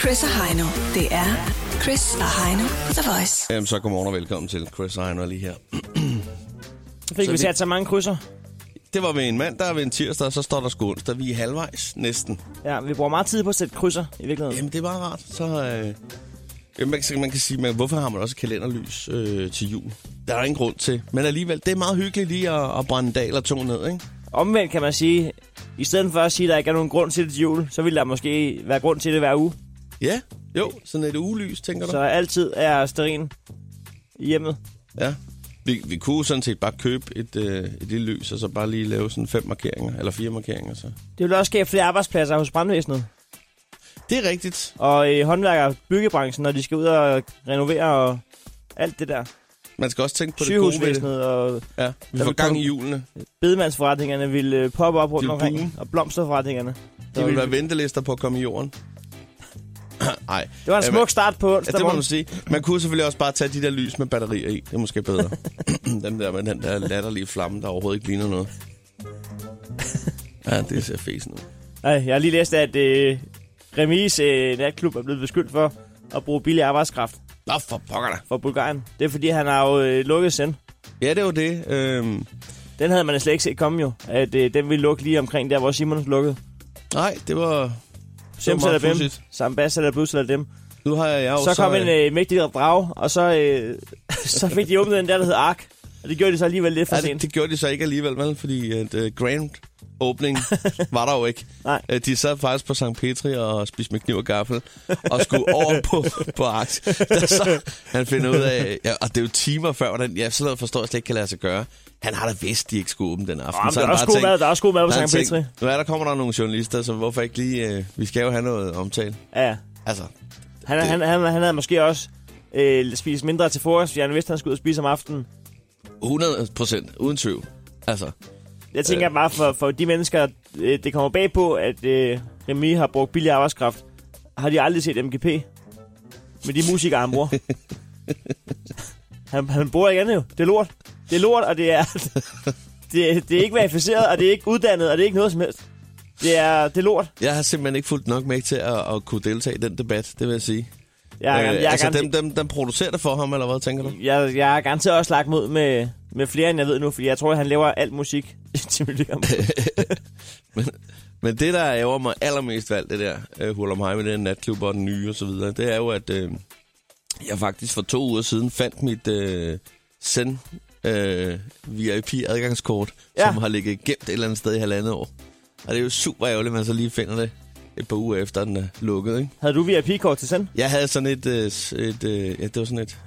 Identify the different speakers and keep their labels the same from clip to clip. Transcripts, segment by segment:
Speaker 1: Chris og Heino. Det er Chris og Heino på The Voice.
Speaker 2: Jamen, så godmorgen og velkommen til Chris Heiner lige her.
Speaker 3: Så fik
Speaker 2: Så
Speaker 3: vi
Speaker 2: det-
Speaker 3: sat så mange krydser.
Speaker 2: Det var ved en mandag og ved en tirsdag, og så står der sgu onsdag. Vi er halvvejs næsten.
Speaker 3: Ja, vi bruger meget tid på at sætte krydser i virkeligheden.
Speaker 2: Jamen, det er bare rart. Så, øh, jamen, man, kan, man kan sige, men hvorfor har man også kalenderlys øh, til jul? Der er der ingen grund til. Men alligevel, det er meget hyggeligt lige at, at brænde en dag eller to ned, ikke?
Speaker 3: Omvendt kan man sige, i stedet for at sige, at der ikke er nogen grund til det til jul, så ville der måske være grund til det hver uge.
Speaker 2: Ja, jo. Sådan et ugelys, tænker du?
Speaker 3: Så altid er sterin i hjemmet.
Speaker 2: Ja. Vi, vi kunne sådan set bare købe et, øh, et lille lys, og så bare lige lave sådan fem markeringer, eller fire markeringer. Så.
Speaker 3: Det vil også skabe flere arbejdspladser hos brandvæsenet
Speaker 2: Det er rigtigt.
Speaker 3: og i håndværker- og byggebranchen, når de skal ud og renovere og alt det der.
Speaker 2: Man skal også tænke på det gode ved det.
Speaker 3: Sygehusvæsenet og
Speaker 2: Ja, vi får
Speaker 3: Der vil
Speaker 2: gang
Speaker 3: komme-
Speaker 2: i julene.
Speaker 3: bedemandsforretningerne vil øh, poppe op rundt
Speaker 2: vil
Speaker 3: omkring,
Speaker 2: boome.
Speaker 3: og blomsterforretningerne.
Speaker 2: Det
Speaker 3: Så
Speaker 2: vil
Speaker 3: vi-
Speaker 2: være ventelister på at komme i jorden. Nej.
Speaker 3: det var en smuk start på
Speaker 2: Ja,
Speaker 3: onsdag
Speaker 2: altså, det må
Speaker 3: morgen.
Speaker 2: man sige. Man kunne selvfølgelig også bare tage de der lys med batterier i. Det er måske bedre. den der med den der latterlige flamme, der overhovedet ikke ligner noget. Ja, det ser fæsen ud.
Speaker 3: Nej, jeg har lige læst, at øh, Remis øh, natklub er blevet beskyldt for at bruge billig arbejdskraft
Speaker 2: Nå, for pokker da.
Speaker 3: fra Bulgarien. Det er fordi, han har jo øh, lukket send.
Speaker 2: Ja, det er jo det. Øhm,
Speaker 3: Den havde man slet ikke set komme jo, at øh, den ville lukke lige omkring der, hvor Simons lukkede.
Speaker 2: nej, det var...
Speaker 3: Sim eller dem,
Speaker 2: pudsigt.
Speaker 3: Sambas eller Bus eller dem.
Speaker 2: Nu har jeg, jeg jo
Speaker 3: Så kom en
Speaker 2: øh,
Speaker 3: øh, mægtig drag, og så, øh, så fik de åbnet den der, der hed Ark. Og det gjorde de så alligevel lidt for
Speaker 2: Ja, det,
Speaker 3: sent.
Speaker 2: det gjorde de så ikke alligevel, vel? Fordi at, uh, grand opening var der jo ikke.
Speaker 3: Nej.
Speaker 2: Øh, de sad faktisk på St. Petri og spiste med kniv og gaffel, og skulle over på, på Aks. Da så han finder ud af, ja, og det er jo timer før, hvordan, ja, sådan noget forstår jeg slet ikke kan lade sig gøre. Han har da vidst, de ikke skulle åbne den aften.
Speaker 3: Jamen,
Speaker 2: så
Speaker 3: der, er
Speaker 2: han
Speaker 3: også
Speaker 2: bare
Speaker 3: god mad,
Speaker 2: tænkt-
Speaker 3: der er også god mad på
Speaker 2: der har han
Speaker 3: Sankt Petri.
Speaker 2: tænkt, Nu er der kommer der nogle journalister, så hvorfor ikke lige, øh, vi skal jo have noget omtale.
Speaker 3: Ja,
Speaker 2: Altså,
Speaker 3: han,
Speaker 2: Det-
Speaker 3: han, han, han havde måske også øh, spist mindre til frokost, fordi han vidste, han skulle ud og spise om aftenen.
Speaker 2: 100 procent, uden tvivl. Altså,
Speaker 3: Jeg tænker
Speaker 2: Øh.
Speaker 3: bare for, for de mennesker, øh, det kommer bag på, at øh, Remy har brugt billig arbejdskraft. Har de aldrig set MGP? Med de musikere, han bruger. han, han bruger ikke andet jo. Det er lort. Det er lort, og det er... Det, det er ikke verificeret, og det er ikke uddannet, og det er ikke noget som helst. Det er, det er lort.
Speaker 2: jeg har simpelthen ikke fulgt nok med til at, at kunne deltage i den debat, det vil jeg sige.
Speaker 3: Jeg, er,
Speaker 2: øh,
Speaker 3: jeg, jeg,
Speaker 2: altså
Speaker 3: altså
Speaker 2: dem, dem, dem producerer det for ham, eller hvad tænker du?
Speaker 3: jeg, jeg er garanteret også lagt mod med, med flere, end jeg ved nu, fordi jeg tror, at han laver alt musik til miljøer.
Speaker 2: Men det, der ærger mig allermest valgt, det der øh, Hurlum Hej med den natklub og den nye og så videre, det er jo, at øh, jeg faktisk for to uger siden fandt mit øh, Zen øh, VIP-adgangskort, ja.
Speaker 3: Ja.
Speaker 2: som har ligget gemt et eller andet sted i halvandet år. Og det er jo super ærgerligt, at man så lige finder det et par uger efter, den er lukket, ikke?
Speaker 3: Havde du VIP-kort til send?
Speaker 2: Jeg havde sådan et... Øh, s- et øh, ja, det var sådan et...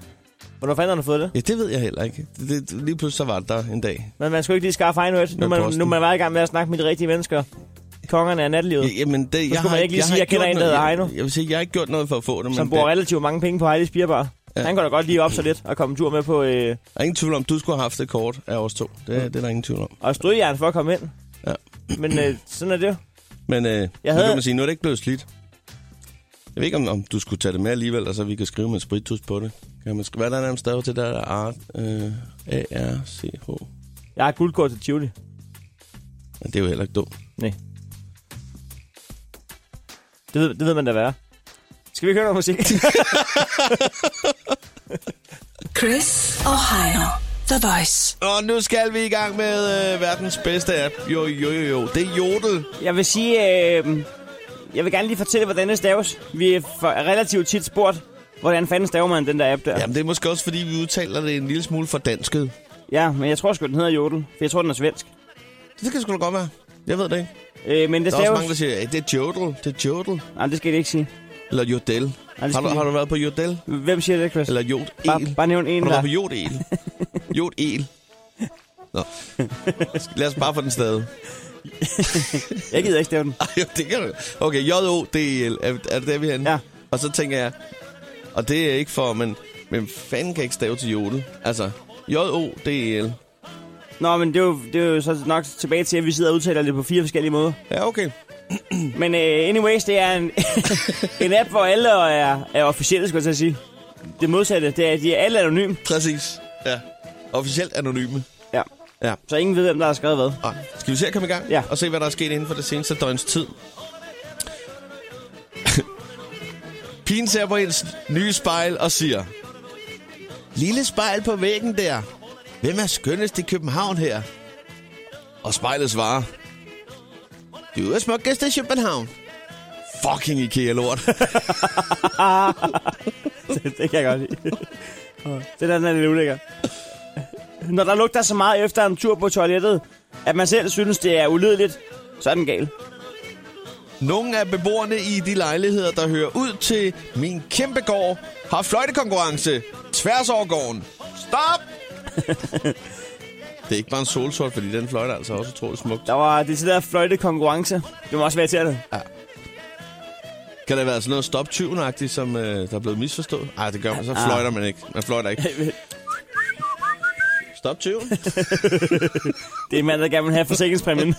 Speaker 3: Hvornår fanden har du fået det?
Speaker 2: Ja, det ved jeg heller ikke. Det, det, lige pludselig så var det der en dag.
Speaker 3: Men man skulle ikke lige skaffe egen højt. Nu,
Speaker 2: Med
Speaker 3: er man,
Speaker 2: posten.
Speaker 3: nu er man var i gang med at snakke med de rigtige mennesker. Kongerne af nattelivet,
Speaker 2: Ja, Jamen, det, jeg
Speaker 3: skulle
Speaker 2: har
Speaker 3: man ikke lige
Speaker 2: har
Speaker 3: sige, jeg kender
Speaker 2: gjort
Speaker 3: en, der hedder
Speaker 2: noget-
Speaker 3: Heino.
Speaker 2: Jeg, jeg vil sige, jeg har ikke gjort noget for at få det,
Speaker 3: som
Speaker 2: men det,
Speaker 3: bruger relativt mange penge på Heidi's Bierbar. Ja. Han går da godt lige op så lidt og komme en tur med på øh,
Speaker 2: der er ingen tvivl om, du skulle have haft det kort af os to. Det,
Speaker 3: Mm.
Speaker 2: det er der ingen tvivl om.
Speaker 3: og strygejern for at komme ind.
Speaker 2: Ja.
Speaker 3: Men øh, sådan er det jo.
Speaker 2: Men øh, jeg havde...
Speaker 3: havde-
Speaker 2: kan man sige, nu er det ikke blevet slidt. Jeg ved ikke, om, om du skulle tage det med alligevel, og så vi kan skrive med en spritus på det. Kan man, sk- hvad er der nærmest stavet til det der? Art, øh, A-R-C-H.
Speaker 3: Jeg har et guldkort til Tivoli.
Speaker 2: Men det er jo heller ikke dumt.
Speaker 3: Nej. Det ved, det ved man da være. Skal vi ikke høre noget musik?
Speaker 1: Chris og Heino. The Voice.
Speaker 2: Og nu skal vi i gang med øh, verdens bedste app. Jo, jo, jo, jo. Det er Jodel.
Speaker 3: jeg vil sige, øh, jeg vil gerne lige fortælle, hvordan det staves. Vi er for, er relativt tit spurgt, hvordan fanden staver man den der app der.
Speaker 2: Jamen, det er måske også, fordi vi udtaler det en lille smule for dansket.
Speaker 3: Ja, men jeg tror sgu, den hedder Jodel, for jeg tror, den er svensk.
Speaker 2: Det kan sgu da godt være. Jeg ved det ikke.
Speaker 3: Øh, men det
Speaker 2: Der er også
Speaker 3: staves...
Speaker 2: mange, der siger, at det er Jodel. Det er Jodel.
Speaker 3: Nej, det skal det ikke sige.
Speaker 2: Eller Jodel.
Speaker 3: skal
Speaker 2: Har du,
Speaker 3: vi-
Speaker 2: har du været på Jodel?
Speaker 3: Hvem siger det, Chris?
Speaker 2: Eller Jodel?
Speaker 3: Bare, bare nævn en,
Speaker 2: Har du været
Speaker 3: der...
Speaker 2: på Jodel? Jodel. Nå. Lad os bare få den stadig.
Speaker 3: Jeg gider ikke stave den.
Speaker 2: Ej, det kan du. Okay, J-O-D-E-L. Er, er det der, vi er henne?
Speaker 3: Ja.
Speaker 2: Og så tænker jeg, og det er ikke for, men, men fanden kan ikke stave til Jodel. Altså, J-O-D-E-L.
Speaker 3: Nå, men det er, jo, det er jo så nok tilbage til, at vi sidder og udtaler det på fire forskellige måder.
Speaker 2: Ja, okay.
Speaker 3: Men uh, anyways, det er en, en app, hvor alle er, er officielle, skulle jeg til at sige. Det modsatte, det er, at de er alle anonyme,
Speaker 2: Præcis. Ja. Officielt anonyme.
Speaker 3: Ja.
Speaker 2: Ja.
Speaker 3: så ingen ved, hvem der har skrevet hvad.
Speaker 2: Og skal vi se at komme i gang?
Speaker 3: Ja.
Speaker 2: Og se, hvad der er sket inden for det seneste døgns tid. Pigen ser på hendes nye spejl og siger... Lille spejl på væggen der. Hvem er skønnest i København her? Og spejlet svarer... Du er smukkest i København. Fucking IKEA-lort.
Speaker 3: det kan jeg godt lide. det der, den er lidt ulækker. Når der lugter så meget efter en tur på toilettet, at man selv synes, det er ulydeligt, så er den gal.
Speaker 2: Nogle af beboerne i de lejligheder, der hører ud til min kæmpe gård, har fløjtekonkurrence tværs over gården. Stop! det er ikke bare en solsort, fordi den fløjte er altså også utrolig smuk.
Speaker 3: Der var det der fløjtekonkurrence. Det må også være irriterende.
Speaker 2: Kan det være sådan noget stop tyven som øh, der er blevet misforstået? Nej, det gør man. Så fløjter man ikke. Man fløjter ikke. Stop tyven.
Speaker 3: Det er mand, der gerne vil have forsikringspræmien.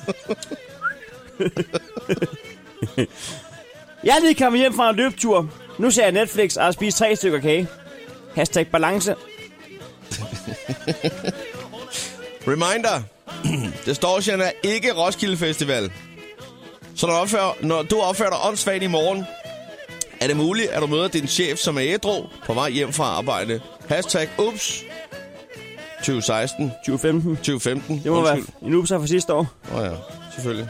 Speaker 3: jeg er lige kommet hjem fra en løbetur. Nu ser jeg Netflix og har spist tre stykker kage. Hashtag balance.
Speaker 2: Reminder. det står sådan, er ikke Roskilde Festival. Så når du, opfører, når du opfører dig åndssvagt i morgen, er det muligt, at du møder din chef, som er ædru, på vej hjem fra arbejde. Hashtag ups. 2016.
Speaker 3: 2015.
Speaker 2: 2015.
Speaker 3: Det må Undskyld. være en upser fra sidste år.
Speaker 2: Åh oh, ja, selvfølgelig.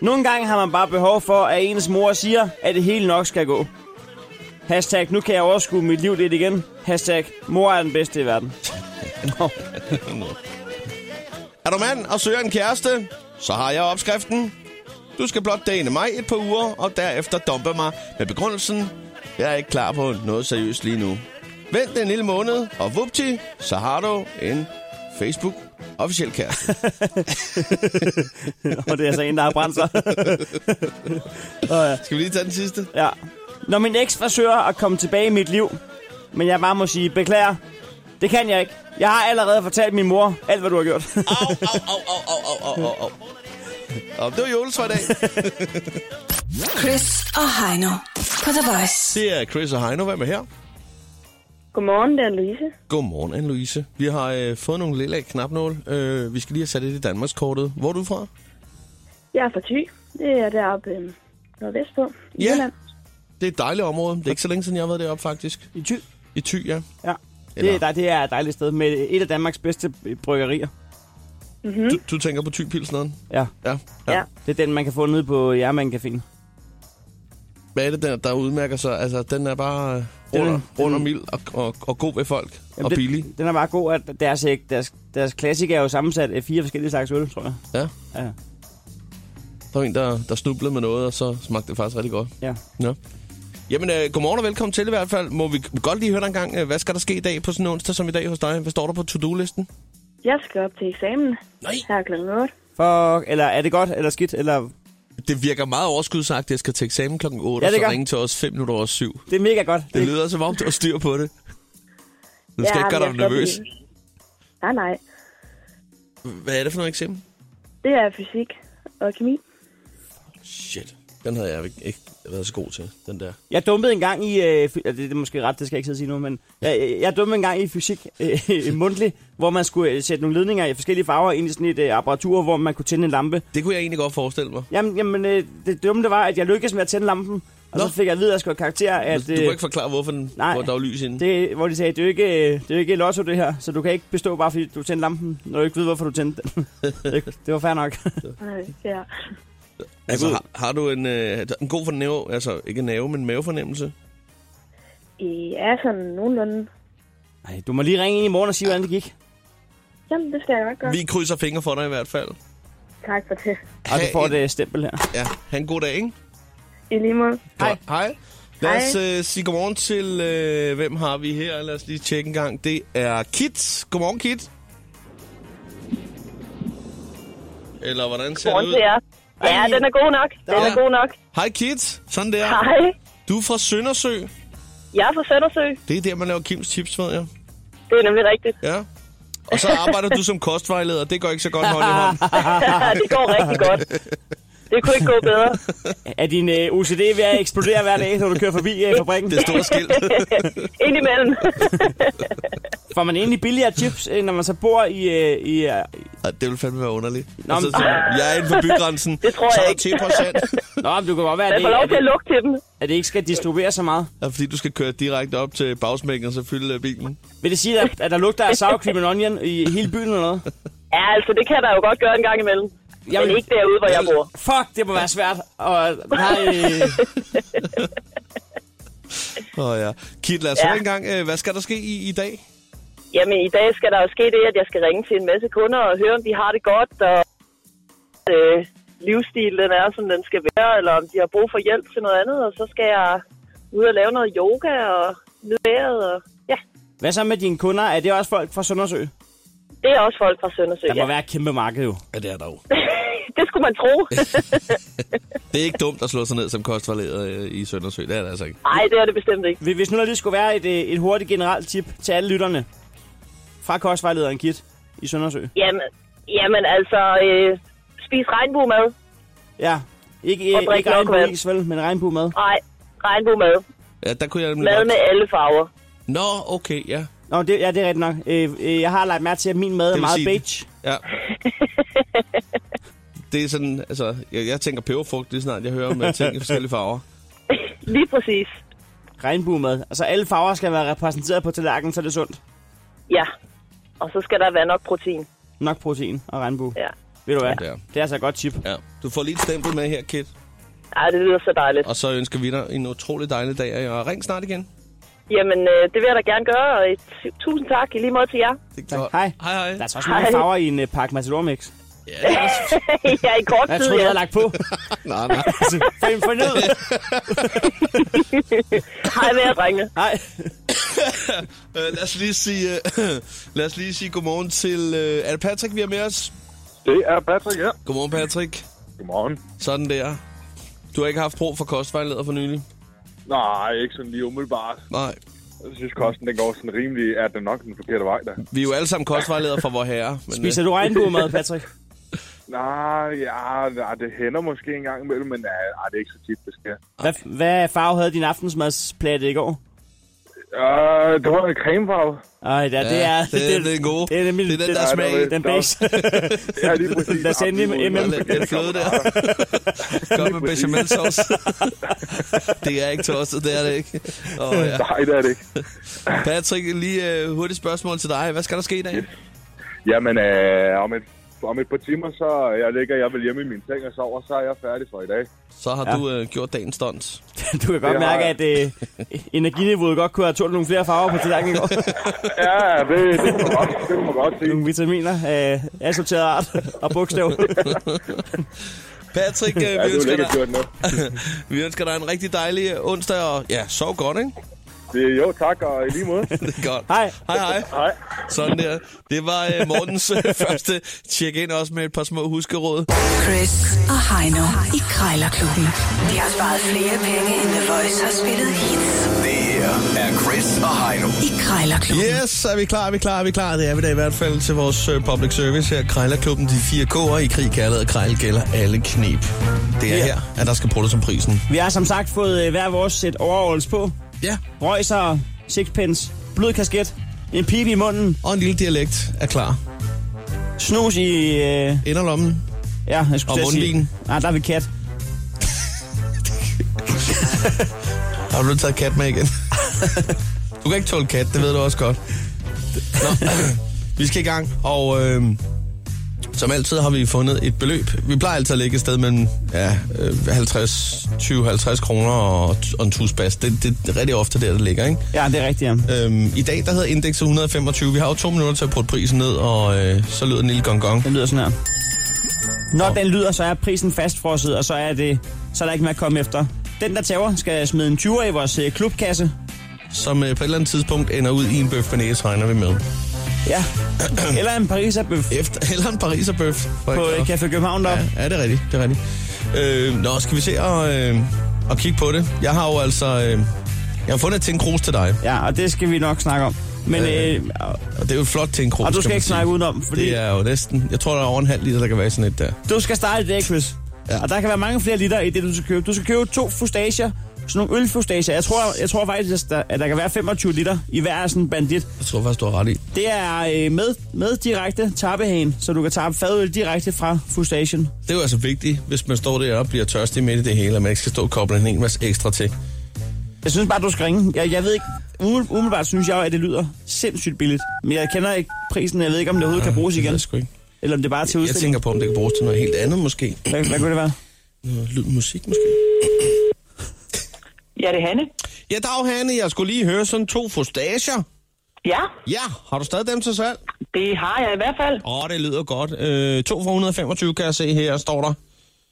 Speaker 3: Nogle gange har man bare behov for, at ens mor siger, at det hele nok skal gå. Hashtag, nu kan jeg overskue mit liv lidt igen. Hashtag, mor er den bedste i verden. Nå,
Speaker 2: Er du mand og søger en kæreste? Så har jeg opskriften. Du skal blot dane mig et par uger, og derefter dumpe mig med begrundelsen. Jeg er ikke klar på noget seriøst lige nu. Vent en lille måned, og vupti, så har du en Facebook officiel kæreste.
Speaker 3: og det er altså en, der har brændt sig.
Speaker 2: Skal vi lige tage den sidste?
Speaker 3: Ja. Når min eks forsøger at komme tilbage i mit liv, men jeg bare må sige, beklager, det kan jeg ikke. Jeg har allerede fortalt min mor alt, hvad du har gjort.
Speaker 2: Au, au, au, au, au, au, au, au. Og det var Jules for i dag.
Speaker 1: Chris og Heino på The Voice.
Speaker 2: Det er Chris og Heino. Hvem er her?
Speaker 4: Godmorgen, det er Louise.
Speaker 2: Godmorgen, Anne-Louise. Vi har øh, fået nogle lille knapnål. Øh, vi skal lige have sat det i Danmarkskortet. Hvor er du fra?
Speaker 4: Jeg er fra Thy. Det er deroppe øh, nordvestpå. i
Speaker 2: Ja.
Speaker 4: Jylland.
Speaker 2: Det er et dejligt område. Det er ikke så længe siden, jeg har været deroppe, faktisk.
Speaker 3: I ty.
Speaker 2: I Thy, ja.
Speaker 3: Ja. Det,
Speaker 2: Eller-
Speaker 3: er, der, det er et dejligt sted med et af Danmarks bedste bryggerier.
Speaker 2: Du, du tænker på Thy-pilsneren?
Speaker 3: Ja.
Speaker 2: Ja.
Speaker 4: Ja.
Speaker 3: Det er den, man kan få nede på Jermann Caféen.
Speaker 2: Hvad er det, der, der udmærker sig? Altså, den er bare øh,
Speaker 3: Den-
Speaker 2: rund, og- rund og
Speaker 3: den-
Speaker 2: mild og, og, og god ved folk. og
Speaker 3: den,
Speaker 2: billig.
Speaker 3: Den er meget god, at deres, æg- deres, deres klassik er jo sammensat af fire forskellige slags øl, tror jeg.
Speaker 2: Ja.
Speaker 3: Ja.
Speaker 2: Der var en, der, der snublede med noget, og så smagte det faktisk rigtig godt.
Speaker 3: ja.
Speaker 2: Ja. Jamen, øh, godmorgen og velkommen til i hvert fald. Må vi godt lige høre dig en gang, øh, hvad skal der ske i dag på sådan en onsdag som i dag hos dig? Hvad står der på to-do-listen?
Speaker 4: Jeg skal op til eksamen
Speaker 2: Nej.
Speaker 4: her kl. 8.
Speaker 3: Fuck, eller er det godt, eller skidt, eller...
Speaker 2: Det virker meget overskudsagt, at jeg skal til eksamen klokken 8, ja,
Speaker 3: Ja, det
Speaker 2: og så
Speaker 3: gør.
Speaker 2: ringe til os 5 minutter over 7.
Speaker 3: Det er mega godt.
Speaker 2: Det lyder som om, du har styr på det. Du skal
Speaker 4: Ja,
Speaker 2: ikke gøre dig
Speaker 4: men jeg skal op
Speaker 2: nervøs.
Speaker 4: i- Nej, nej.
Speaker 2: Hvad er det for noget eksamen?
Speaker 4: Det er fysik og kemi.
Speaker 2: Shit. Den havde jeg ikke, ikke været så god til, den der.
Speaker 3: Jeg dumpede en gang i... Øh, fy- ja, det, det er måske ret, det skal jeg ikke sidde og sige nu, men... Jeg, jeg- jeg dumpede en gang i fysik øh, mundtlig, hvor man skulle øh, sætte nogle ledninger i forskellige farver ind i sådan et øh, apparatur, hvor man kunne tænde en lampe.
Speaker 2: Det kunne jeg egentlig godt forestille mig.
Speaker 3: Jamen, jamen øh, det dumme det var, at jeg lykkedes med at tænde lampen, og
Speaker 2: Nå.
Speaker 3: så fik jeg at vide, at jeg skulle have karakter,
Speaker 2: Ja,
Speaker 3: at...
Speaker 2: det... Altså, Du må ikke forklare, hvorfor den,
Speaker 3: Nej.
Speaker 2: hvor der var lys inde. Det...
Speaker 3: det, hvor de sagde, det er jo ikke, øh, det er jo ikke lotto det her, så du kan ikke bestå bare fordi du tændte lampen, når du ikke ved, hvorfor du tændte den. det, det var fair nok.
Speaker 4: Nej, Ja.
Speaker 2: Altså, har, har du en, øh, en god fornæve, altså ikke nerve, men mavefornemmelse?
Speaker 4: I er sådan nogenlunde.
Speaker 3: Nej, du må lige ringe ind i morgen og sige, hvordan det gik.
Speaker 4: Jamen, det skal jeg nok gøre.
Speaker 2: Vi krydser fingre for dig i hvert fald.
Speaker 4: Tak for det.
Speaker 3: Og
Speaker 2: Ha'
Speaker 3: du får
Speaker 2: en,
Speaker 3: et øh, stempel her.
Speaker 2: Ja, ha' en god dag, ikke?
Speaker 4: I lige måde.
Speaker 2: Hej. Hej. Lad os
Speaker 4: Hej.
Speaker 2: øh, sige godmorgen til, øh, hvem har vi her? Lad os lige tjekke en gang. Det er Kit. Godmorgen, Kit. Eller hvordan ser det
Speaker 4: Godmorgen
Speaker 2: ud?
Speaker 4: til jer. Ja,
Speaker 3: Ej.
Speaker 4: den er god nok. Den
Speaker 2: Ja.
Speaker 4: er god nok.
Speaker 2: Hej, Kit. Sådan der.
Speaker 4: Hej.
Speaker 2: Du er fra Søndersø.
Speaker 4: Jeg er fra Søndersø.
Speaker 2: Det er der, man laver Kims tips, ved jeg.
Speaker 4: Det er nemlig rigtigt.
Speaker 2: Ja. Og så arbejder du som kostvejleder. Det går ikke så godt hånd i hånd.
Speaker 4: det går rigtig godt. Det kunne ikke gå bedre.
Speaker 3: Er din øh, OCD ved at eksplodere hver dag, når du kører forbi øh, fabrikken?
Speaker 2: Det store skilt.
Speaker 4: Indimellem.
Speaker 3: Får man egentlig billigere chips, øh, når man så bor i, øh, i, øh,
Speaker 2: Ej, Det ville fandme være underligt. Nå,
Speaker 3: men-
Speaker 2: altså, så, jeg er inden for bygrænsen,
Speaker 5: Det tror
Speaker 2: så
Speaker 5: jeg
Speaker 2: er
Speaker 5: ikke.
Speaker 2: 10 procent.
Speaker 3: Nå, men du kan godt være, at
Speaker 5: Jeg
Speaker 3: det,
Speaker 5: får lov
Speaker 3: at
Speaker 5: til at
Speaker 3: det,
Speaker 5: lugte til den.
Speaker 3: at det ikke skal distribuere så meget.
Speaker 2: Og fordi du skal køre direkte op til bagsmækken og så fylde øh, bilen.
Speaker 3: Vil det sige, at, at der lugter af sour cream and onion i hele byen eller noget?
Speaker 5: Ja, altså, det kan der jo godt gøre en gang imellem.
Speaker 3: Jamen-
Speaker 5: Men ikke derude, hvor jeg bor.
Speaker 3: Fuck, det må være svært. Og, øh, nej,
Speaker 2: Åh oh, ja. Kit, lad os ja.
Speaker 5: Ja.
Speaker 2: høre engang. øh, Hvad skal der ske i, i dag?
Speaker 5: Jamen, i dag skal der jo ske det, at jeg skal ringe til en masse kunder og høre, om de har det godt, og øh, livsstilen den er, som den skal være, eller om de har brug for hjælp til noget andet. Og så skal jeg ud og lave noget yoga og nyde vejret, og ja,
Speaker 3: hvad så med dine kunder? Er det også folk fra Søndersø?
Speaker 5: det er også folk fra Søndersø.
Speaker 3: Der må
Speaker 5: Ja.
Speaker 3: være et kæmpe marked jo.
Speaker 2: Ja, det er dog.
Speaker 5: Det skulle man tro.
Speaker 2: Det er ikke dumt at slå sig ned som kostforleder øh, i Søndersø. Det er det altså ikke.
Speaker 5: Nej, det er det bestemt ikke.
Speaker 3: Hvis nu der lige skulle være et, øh, et hurtigt generelt tip til alle lytterne fra kostvejlederen Kit i Søndersø.
Speaker 5: Jamen, jamen altså, øh, spis regnbuemad.
Speaker 3: Ja, ikke,
Speaker 5: Og
Speaker 3: øh,
Speaker 5: drik
Speaker 3: ikke
Speaker 5: nok
Speaker 3: regnbueis, vel, men regnbuemad.
Speaker 5: Nej, regnbuemad.
Speaker 2: Ja, der kunne jeg nemlig
Speaker 5: Mad
Speaker 2: godt-
Speaker 5: med alle farver.
Speaker 2: Nå, okay, ja.
Speaker 3: Nå, det, ja, det er rigtigt nok. Øh, øh, jeg har lagt mærke til, at min mad er
Speaker 2: vil
Speaker 3: meget
Speaker 2: sige-
Speaker 3: beige.
Speaker 2: ja. Det er sådan, altså, jeg, jeg tænker peberfrugt lige snart, jeg hører om øh, ting i forskellige farver.
Speaker 5: Lige præcis.
Speaker 3: Regnbuemad. Altså, alle farver skal være repræsenteret på tallerkenen, så det er sundt.
Speaker 5: Ja. Og så skal der være nok protein.
Speaker 3: Nok protein og regnbue.
Speaker 5: Ja.
Speaker 3: Ved du hvad?
Speaker 2: Ja.
Speaker 3: Det er altså et godt tip.
Speaker 2: Ja. Du får lige et stempel med her, Kit.
Speaker 5: Ej, det lyder så dejligt.
Speaker 2: Og så ønsker vi dig en utrolig dejlig dag, og ring snart igen.
Speaker 5: Jamen, øh, det vil jeg da gerne gøre, og et, tusind tak i lige måde til jer.
Speaker 2: Det
Speaker 3: Tak.
Speaker 2: godt.
Speaker 3: Hej.
Speaker 2: Hej, hej.
Speaker 3: Der er så også mange
Speaker 5: Hej.
Speaker 3: farver i en øh, pakke Matador Mix.
Speaker 2: Ja, det er også-
Speaker 5: ja, i kort
Speaker 3: Jeg
Speaker 5: tid,
Speaker 3: troede, jeg
Speaker 5: ja.
Speaker 3: havde lagt på.
Speaker 2: nej, nej.
Speaker 3: Find for ned.
Speaker 5: Hej med jer, drengene.
Speaker 3: Nej.
Speaker 2: Øh, lad os lige sige, øh, lad os lige sige godmorgen til... Øh, er det Patrick, vi har med os?
Speaker 6: Det er Patrick, ja.
Speaker 2: Godmorgen, Patrick.
Speaker 6: Godmorgen.
Speaker 2: Sådan der. Du har ikke haft brug for kostvejleder for nylig?
Speaker 6: Nej, ikke sådan lige umiddelbart.
Speaker 2: Nej.
Speaker 6: Jeg synes kosten, den går sådan rimelig, er den nok den forkerte vej der.
Speaker 2: Vi er jo alle sammen kostvejledere for vor herre. Men, øh,
Speaker 3: Spiser du regnbuemad, Patrick?
Speaker 6: Nej, ja, nej, det hænder måske en gang imellem, men nej, nej, det er ikke så tit, det sker.
Speaker 3: Hvad, hvad farve havde din aftensmadsplade i går?
Speaker 6: Øh, det var en cremefarve.
Speaker 3: Ej, da, det er...
Speaker 2: det er- det er den gode.
Speaker 3: Det er, nemlig,
Speaker 2: Det er den, der
Speaker 6: er smag i.
Speaker 3: Den beige.
Speaker 6: Ja, lige præcis.
Speaker 3: Lad os endelig
Speaker 6: Absolut.
Speaker 3: M&M.
Speaker 2: øh, lidt, lidt fløde der. Kom med bechamelsauce. det er ikke tosset, det er det ikke. Og, ja.
Speaker 6: Nej, det er det ikke.
Speaker 2: Patrick, lige øh, hurtigt spørgsmål til dig. Hvad skal der ske i dag?
Speaker 6: Jamen, øh, om, et, om et par timer, så jeg ligger jeg vel hjemme i min seng og sover, så er jeg færdig for i dag.
Speaker 2: Så har
Speaker 3: Ja.
Speaker 2: du øh, gjort dagens stunts.
Speaker 3: Du kan godt
Speaker 6: Det har
Speaker 3: mærke, at øh, energiniveauet godt kunne have tålt nogle flere farver på tallerkenen i går.
Speaker 6: Ja, det, det må man godt, det må man godt sige.
Speaker 3: Nogle vitaminer af øh, assorteret art og bogstav.
Speaker 2: Patrick,
Speaker 6: Ja,
Speaker 2: øh, vi,
Speaker 6: det er
Speaker 2: ønsker
Speaker 6: lækkert
Speaker 2: dig,
Speaker 6: gjort nu.
Speaker 2: vi ønsker dig en rigtig dejlig øh, onsdag, og ja, sov godt, ikke?
Speaker 6: Det er jo tak, og i lige måde.
Speaker 2: Det er godt.
Speaker 3: Hej.
Speaker 2: Hej, hej.
Speaker 6: Hej.
Speaker 2: Sådan der. Det var øh, Mortens øh, første check-in, også med et par små huskeråd.
Speaker 1: Chris og Heino i Krejlerklubben. De har sparet flere penge, end The Voice har spillet hits
Speaker 7: Det her er Chris og Heino.
Speaker 1: i Krejlerklubben.
Speaker 2: Yes, er vi klar, er vi klar, er vi klar. Det er vi da i hvert fald til vores øh, public service her. Krejlerklubben, de fire K'er i krig, kærlighed og krejl gælder alle knep. Det er her, at der skal bruges som prisen.
Speaker 3: Vi har som sagt fået øh, hver vores sæt overholds på.
Speaker 2: Ja,
Speaker 3: Røjser, sixpence, blød kasket, en pibe i munden,
Speaker 2: og en lille dialekt er klar.
Speaker 3: snus i... Øh,
Speaker 2: Inderlommen.
Speaker 3: ja, jeg skulle
Speaker 2: Og
Speaker 3: til at sige-
Speaker 2: mundvin.
Speaker 3: Nej, der er vi kat.
Speaker 2: Har du taget kat med igen? du kan ikke tåle kat, det ved du også godt. Nå, vi skal i gang, og øh, som altid har vi fundet et beløb. Vi plejer altid at lægge et sted mellem ja, øh, 50, 20-50 kroner og, og en tusbas. Det, det er rigtig ofte der, det ligger, ikke?
Speaker 3: Ja, det er rigtigt, ja.
Speaker 2: Øhm, I dag der hedder indekset 125. Vi har jo to minutter til at putte prisen ned, og øh, så lyder den lille gong gong.
Speaker 3: Den lyder sådan her. Når den lyder, så er prisen fastfrosset, og så er, det, så er der ikke mere at komme efter. Den, der tager, skal smide en 20'er i vores øh, klubkasse.
Speaker 2: Som øh, på et eller andet tidspunkt ender ud i en bøf bearnaise, regner vi med.
Speaker 3: Ja. Eller en pariserbøf
Speaker 2: Efter, eller en pariserbøf. for
Speaker 3: på
Speaker 2: ikke
Speaker 3: øh,
Speaker 2: at-
Speaker 3: Café København deroppe.
Speaker 2: Ja, ja, det er rigtigt. Det er rigtigt. Øh, nå, skal vi se og, øh, og kigge på det? Jeg har jo altså... Øh, jeg har fundet et tinkrus til dig,
Speaker 3: Ja. ja, og det skal vi nok snakke om. Men, øh,
Speaker 2: og det er jo et flot tinkrus,
Speaker 3: og du skal
Speaker 2: man
Speaker 3: ikke
Speaker 2: sige.
Speaker 3: snakke udenom, fordi
Speaker 2: Det er jo næsten... Jeg tror, der er over en halv liter, der kan være i sådan et der.
Speaker 3: du skal starte i dag, Chris.
Speaker 2: Ja.
Speaker 3: Ja. Og der kan være mange flere liter i det, du skal købe. Du skal købe to fustager sådan nogle ølfustager. Jeg tror, jeg tror faktisk, at der, at der kan være 25 liter i hver af sådan en bandit.
Speaker 2: Jeg tror faktisk, du har ret i.
Speaker 3: Det er øh, med, med direkte tappehagen, så du kan tappe fadøl direkte fra fustagen.
Speaker 2: Det er jo altså vigtigt, hvis man står der og bliver tørstig midt i det hele, og man ikke skal stå og koble en hel masse ekstra til.
Speaker 3: Jeg synes bare, du skal ringe. Jeg, jeg ved ikke, umiddelbart, umiddelbart synes jeg jo, at det lyder sindssygt billigt. Men jeg kender ikke prisen, jeg ved ikke, om det overhovedet kan bruges
Speaker 2: Det ved
Speaker 3: igen.
Speaker 2: jeg sgu ikke.
Speaker 3: Eller om det bare er til
Speaker 2: Jeg
Speaker 3: udstilling.
Speaker 2: tænker på, om det kan bruges til noget helt andet måske.
Speaker 3: Hvad, hvad kunne det være?
Speaker 2: Noget lyd musik måske.
Speaker 5: Ja, det er Hanne.
Speaker 2: Ja, dag Hanne, jeg skulle lige høre sådan to fustager.
Speaker 5: Ja,
Speaker 2: Ja, har du stadig dem til salg?
Speaker 5: det har jeg i hvert fald.
Speaker 2: Åh, oh, det lyder godt. Øh, to for 125 kan jeg se her, står der.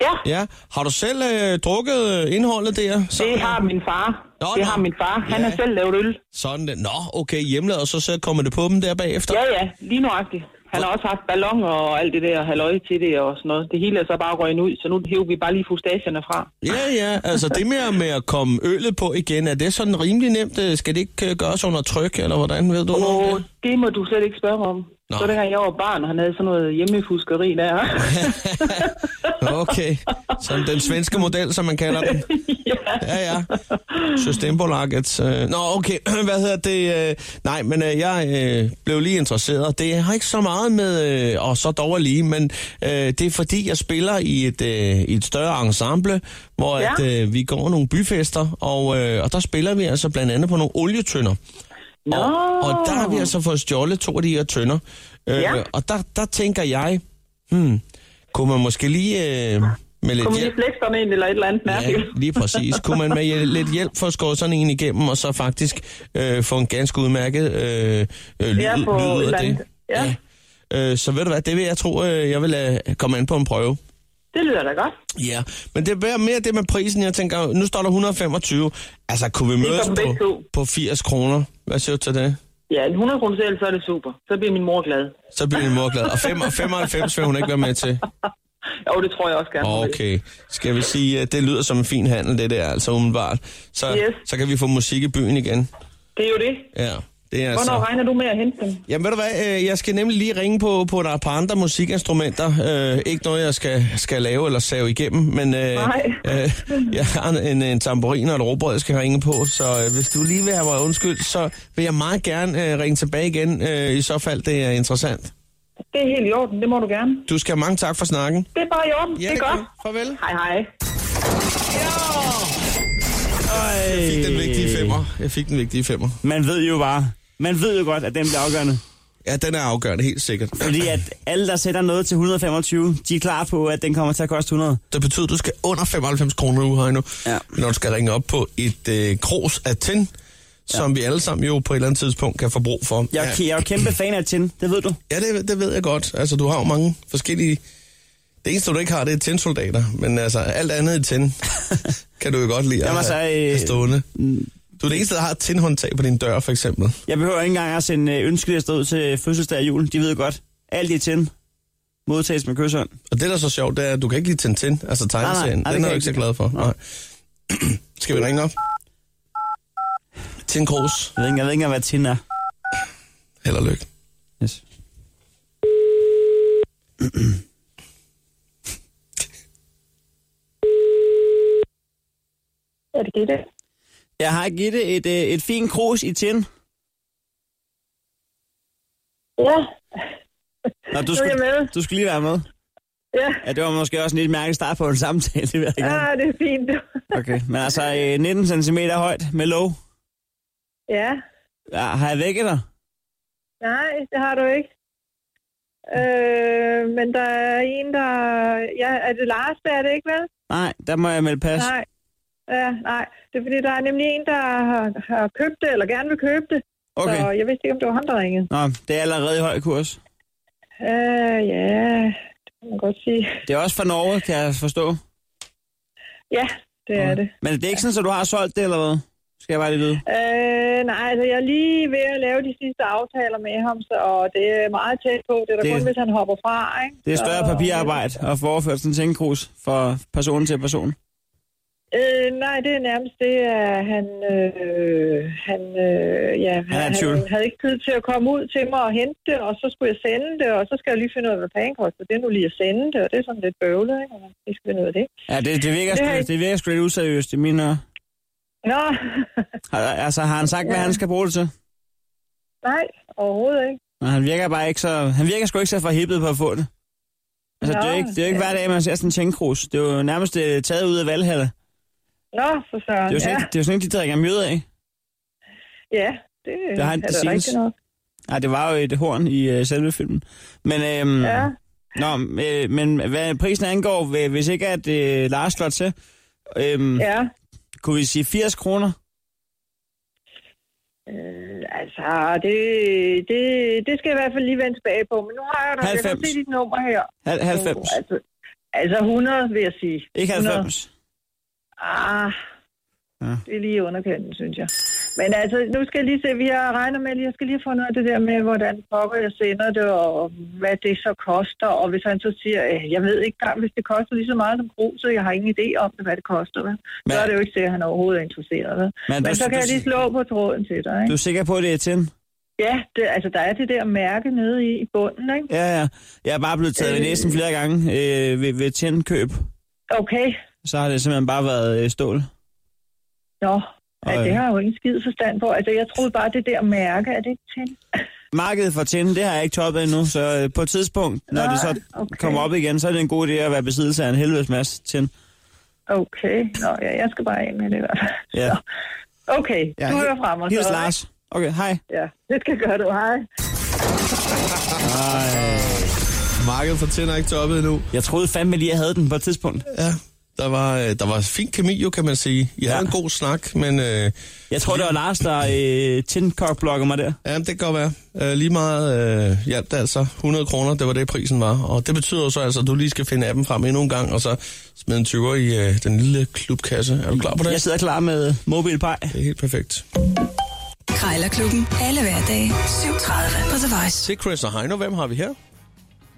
Speaker 5: Ja,
Speaker 2: Ja, har du selv øh, drukket øh, indholdet der? Så,
Speaker 5: det har min far.
Speaker 2: Nå,
Speaker 5: det
Speaker 2: nå.
Speaker 5: har min far. Han
Speaker 2: Ja.
Speaker 5: har selv lavet øl.
Speaker 2: Sådan det. Nå, okay, hjemlavet, og så, så kommer det på dem der bagefter.
Speaker 5: Ja, ja, lige nuagtigt. Han har også haft ballon og alt det der halvøje til det og sådan noget. Det hele er så bare røgnet ud, så nu hiver vi bare lige fustasierne fra.
Speaker 2: Ja, ja, altså det med, at- med at komme øllet på igen, er det sådan rimelig nemt? Øh, Skal det ikke øh, gøres under tryk, eller hvordan ved du? noget om
Speaker 5: Og
Speaker 2: det?
Speaker 5: det må du slet ikke spørge mig om.
Speaker 2: Nå.
Speaker 5: Nå. Så dengang jeg var barn, og han havde sådan noget hjemmefuskeri der.
Speaker 2: Okay, som den svenske model, som man kalder den. Ja, ja. Systembolaget. Øh. Nå, okay, hvad hedder det? øh, Nej, men øh, jeg øh, blev lige interesseret. Det har ikke så meget med, øh, og så dog lige, men øh, det er fordi, jeg spiller i et, øh, i et større ensemble, hvor
Speaker 5: Ja.
Speaker 2: at, øh, vi går nogle byfester, og, øh, og der spiller vi altså blandt andet på nogle olietønder.
Speaker 5: Nå.
Speaker 2: Og, og der har vi altså fået stjålet to af de her tønder. Øh,
Speaker 5: Ja.
Speaker 2: Og der, der tænker jeg, hmm, kunne man måske lige øh, med lidt
Speaker 5: Kom
Speaker 2: hjælp...
Speaker 5: lige flæksterne ind eller et eller andet
Speaker 2: Ja,
Speaker 5: mærkeligt.
Speaker 2: lige præcis. Kunne man med hjæl- lidt hjælp få skåret sådan en igennem, og så faktisk øh, få en ganske udmærket øh, øh, lyd,
Speaker 5: Ja,
Speaker 2: ja,
Speaker 5: på et
Speaker 2: lyd
Speaker 5: eller
Speaker 2: af det?
Speaker 5: andet. Ja.
Speaker 2: ja. Øh, så ved du hvad, det vil jeg tro, øh, jeg vil lade komme an på en prøve.
Speaker 5: Det lyder da godt.
Speaker 2: Ja, men det er mere det med prisen, jeg tænker, nu står der 125. Altså, kunne vi
Speaker 5: er
Speaker 2: mødes
Speaker 5: for begge
Speaker 2: på,
Speaker 5: to.
Speaker 2: på 80 kroner? Hvad siger du til det?
Speaker 5: Ja, en 100 kroner selv, så er det super. Så bliver min mor glad.
Speaker 2: Så bliver din mor glad. Og fem- og 95 vil hun ikke være med til.
Speaker 5: Jo, det tror jeg også gerne. hun vil.
Speaker 2: Okay. Skal vi sige, at det lyder som en fin handel, det der, altså umiddelbart. Så,
Speaker 5: Yes.
Speaker 2: så kan vi få musik i byen igen.
Speaker 5: Det er jo det.
Speaker 2: Ja, det er
Speaker 5: Hvornår
Speaker 2: altså...
Speaker 5: regner du med at hente dem?
Speaker 2: Jamen ved du hvad, øh, jeg skal nemlig lige ringe på, på der er par andre musikinstrumenter. Øh, ikke noget, jeg skal, skal lave eller save igennem, men øh,
Speaker 5: Nej.
Speaker 2: øh, jeg har en, en tambourin og et råbrød, jeg skal ringe på. Så øh, hvis du lige vil have mig undskyld, så vil jeg meget gerne øh, ringe tilbage igen, øh, i så fald det er interessant.
Speaker 5: Det er helt i orden. Det må du gerne.
Speaker 2: Du skal have mange tak for snakken.
Speaker 5: Det er bare i orden. det er godt.
Speaker 2: Farvel.
Speaker 5: Hej, hej.
Speaker 2: Jeg fik den
Speaker 3: Øh.
Speaker 2: vigtige femmer. Jeg fik den vigtige femmer.
Speaker 3: Man ved jo bare, man ved jo godt, at den bliver afgørende.
Speaker 2: Ja, den er afgørende, helt sikkert.
Speaker 3: Fordi at alle, der sætter noget til 125, de er klar på, at den kommer til at koste 100.
Speaker 2: Det betyder, at du skal under 95 kroner nu, Heino,
Speaker 3: Ja.
Speaker 2: når du skal ringe op på et øh, kros af tin, ja. som vi alle sammen jo på et eller andet tidspunkt kan få brug for.
Speaker 3: Jeg, er- jeg er jo kæmpe fan af tin, det ved du.
Speaker 2: ja det, det ved jeg godt. Altså, du har jo mange forskellige... Det eneste, du ikke har, det er tinsoldater, men altså, alt andet i tin kan du jo godt lide at
Speaker 3: Jamen,
Speaker 2: have,
Speaker 3: altså, øh,
Speaker 2: have stående. Du er det eneste, der har et tinhåndtag på din dør, for eksempel.
Speaker 3: Jeg behøver ikke engang at sende øh, ønskelister ud til fødselsdag og jul. De ved godt, alt i tin modtages med kysshånd.
Speaker 2: Og det, der er så sjovt, det er, at du kan ikke lide Tintin, altså tegneserien.
Speaker 3: nej, det
Speaker 2: Den
Speaker 3: kan
Speaker 2: er
Speaker 3: jeg
Speaker 2: du ikke så
Speaker 3: ikke.
Speaker 2: glad for. Nej. Skal vi ringe op? Tin Kroos,
Speaker 3: Jeg ved ikke, jeg ved ikke engang, hvad tin er.
Speaker 2: held og lykke.
Speaker 3: Yes.
Speaker 4: Er det Gitte?
Speaker 3: Jeg har givet det et, øh, et fint krus i tin.
Speaker 4: Ja,
Speaker 3: Nå, du
Speaker 4: jeg
Speaker 3: skulle,
Speaker 4: med.
Speaker 3: du skulle lige være med.
Speaker 4: ja.
Speaker 3: Ja, det var måske også en lidt mærkelig start på en samtale, det ved jeg ikke.
Speaker 4: Ah, det er fint.
Speaker 3: Okay. Men altså, øh, 19 cm højt med låg.
Speaker 4: ja,
Speaker 3: Ja, har jeg vækket dig?
Speaker 4: nej, det har du ikke. Øh, men der er en, der... Ja, er det Lars, der er det ikke, vel?
Speaker 3: Nej, der må jeg melde pas.
Speaker 4: Nej. Ja, nej. Det er fordi, der er nemlig en, der har, har købt det, eller gerne vil købe det.
Speaker 3: Okay.
Speaker 4: Så jeg vidste ikke, om det var ham, der ringede.
Speaker 3: Nå, det er allerede i høj kurs.
Speaker 4: Øh, ja, det kan man godt sige.
Speaker 3: Det er også fra Norge, kan jeg forstå.
Speaker 4: Ja, det er det.
Speaker 3: Men det er ikke sådan, at du har solgt det, eller hvad? Skal jeg bare lige vide.
Speaker 4: Øh, nej, altså jeg er lige ved at lave de sidste aftaler med ham, så, og det er meget tæt på. Det er da
Speaker 3: Det-
Speaker 4: det... kun, hvis han hopper fra, ikke?
Speaker 3: Det er større
Speaker 4: Så-
Speaker 3: papirarbejde at få overført sådan en tænkekrus fra person til person.
Speaker 4: Øh, nej, det er nærmest det, at han, øh, han, øh, ja,
Speaker 3: er i
Speaker 4: han,
Speaker 3: tvivl.
Speaker 4: han havde ikke tid til at komme ud til mig og hente det, og så skulle jeg sende det, og så skal jeg lige finde ud af, hvad penge koster. Det er nu lige at sende det, og det er sådan lidt bøvlet, ikke? Og jeg skal finde ud af det.
Speaker 3: Ja, det, det virker,
Speaker 4: Det har
Speaker 3: sgu,
Speaker 4: jeg-
Speaker 3: det virker sgu lidt useriøst i mine ører.
Speaker 8: Nå,
Speaker 3: Al- Altså, har han sagt, hvad han skal bruge det til?
Speaker 8: nej, overhovedet ikke.
Speaker 3: Men han virker bare ikke så... Han virker sgu ikke så forhippet på at få det. Altså, det er jo
Speaker 8: Nå,
Speaker 3: ikke, det er jo ikke
Speaker 8: ja.
Speaker 3: hver dag, man ser sådan en tænkkrus. Det er jo nærmest øh, taget ud af valghaller.
Speaker 8: Nå, for
Speaker 3: Det
Speaker 8: søren.
Speaker 3: er jo sådan,
Speaker 8: ja.
Speaker 3: ja. det er jo sådan, de drikker mjød af.
Speaker 8: ja, det,
Speaker 3: Det har han-
Speaker 8: er
Speaker 3: det
Speaker 8: da
Speaker 3: synes-
Speaker 8: rigtigt nok.
Speaker 3: Nej, det var jo et horn i øh, selve filmen. Men, øhm,
Speaker 8: Ja.
Speaker 3: nå, øh, men hvad prisen angår, hv- hvis ikke at øh, Lars slår til, øhm, ja.
Speaker 8: Ja,
Speaker 3: kunne vi sige 80 kroner?
Speaker 4: Øh,
Speaker 8: altså, det, det, det skal jeg i hvert fald lige vende tilbage på. Men nu har jeg da jeg kan
Speaker 3: 90.
Speaker 8: se dit nummer her.
Speaker 3: Hal- 90?
Speaker 8: Altså, altså 100, vil jeg sige.
Speaker 3: Ikke
Speaker 8: 100.
Speaker 3: 90?
Speaker 8: Ah,
Speaker 3: Ja.
Speaker 8: ja. det er lige i underkanten, synes jeg. Men altså, nu skal jeg lige se, vi har regnet med, jeg skal lige få noget af det der med, hvordan pokker jeg sender det, og hvad det så koster. Og hvis han så siger, øh, jeg ved ikke engang, hvis det koster lige så meget som gruset, jeg har ingen idé om, hvad det koster. Vel? Så
Speaker 3: Men-
Speaker 8: er det jo ikke til, at han overhovedet er interesseret. Vel?
Speaker 3: Men
Speaker 8: Men,
Speaker 3: du-
Speaker 8: Men så kan
Speaker 3: du-
Speaker 8: jeg lige slå på tråden til dig.
Speaker 3: Du
Speaker 8: Ikke?
Speaker 3: er sikker på, at det er tin?
Speaker 8: Ja, det, altså der er det der mærke nede i, i bunden, ikke?
Speaker 3: Ja, ja. Jeg er bare blevet taget øh. ved
Speaker 8: Øh.
Speaker 3: næsen flere gange øh, ved, ved tindkøb.
Speaker 8: Okay,
Speaker 3: Så har det simpelthen bare været øh, stål.
Speaker 8: nå. Ja,
Speaker 3: Ej.
Speaker 8: det har jeg jo ingen skid forstand på. Altså, jeg troede bare, det der mærke, er det ikke til?
Speaker 3: Markedet for tin, det har jeg ikke toppet endnu, så øh, på et tidspunkt, når det så
Speaker 8: Ah, okay.
Speaker 3: kommer op igen, så er det en god idé at være besiddelse af en helvedes masse tin.
Speaker 8: Okay, nå ja, jeg skal bare af med det i hvert fald.
Speaker 3: Ja.
Speaker 8: Nå. Okay, ja, du hører fra mig.
Speaker 3: Hils
Speaker 8: så, ikke?
Speaker 3: Lars. Okay, hej.
Speaker 8: Ja, det skal gøre du. Hej.
Speaker 2: Markedet for tænder er ikke toppet endnu.
Speaker 3: Jeg troede fandme lige, jeg havde den på et tidspunkt.
Speaker 2: Ja, der var, øh, der var fint kemi, jo, kan man sige. I ja. havde en god snak, men øh,
Speaker 3: Jeg tror, det var Lars, der øh, tindkokblokker mig der.
Speaker 2: ja, det kan godt være. Øh, lige meget øh, hjalp det altså. 100 kroner, det var det, prisen var. Og det betyder jo så altså, at du lige skal finde appen frem endnu en gang, og så smide en 20'er i øh, den lille klubkasse. Er du klar på det?
Speaker 3: Jeg sidder klar med mobilpej.
Speaker 2: Det er helt perfekt.
Speaker 1: Krejlerklubben. Alle hverdage 7.30 på The Voice.
Speaker 2: Til Chris og Heino, hvem har vi her?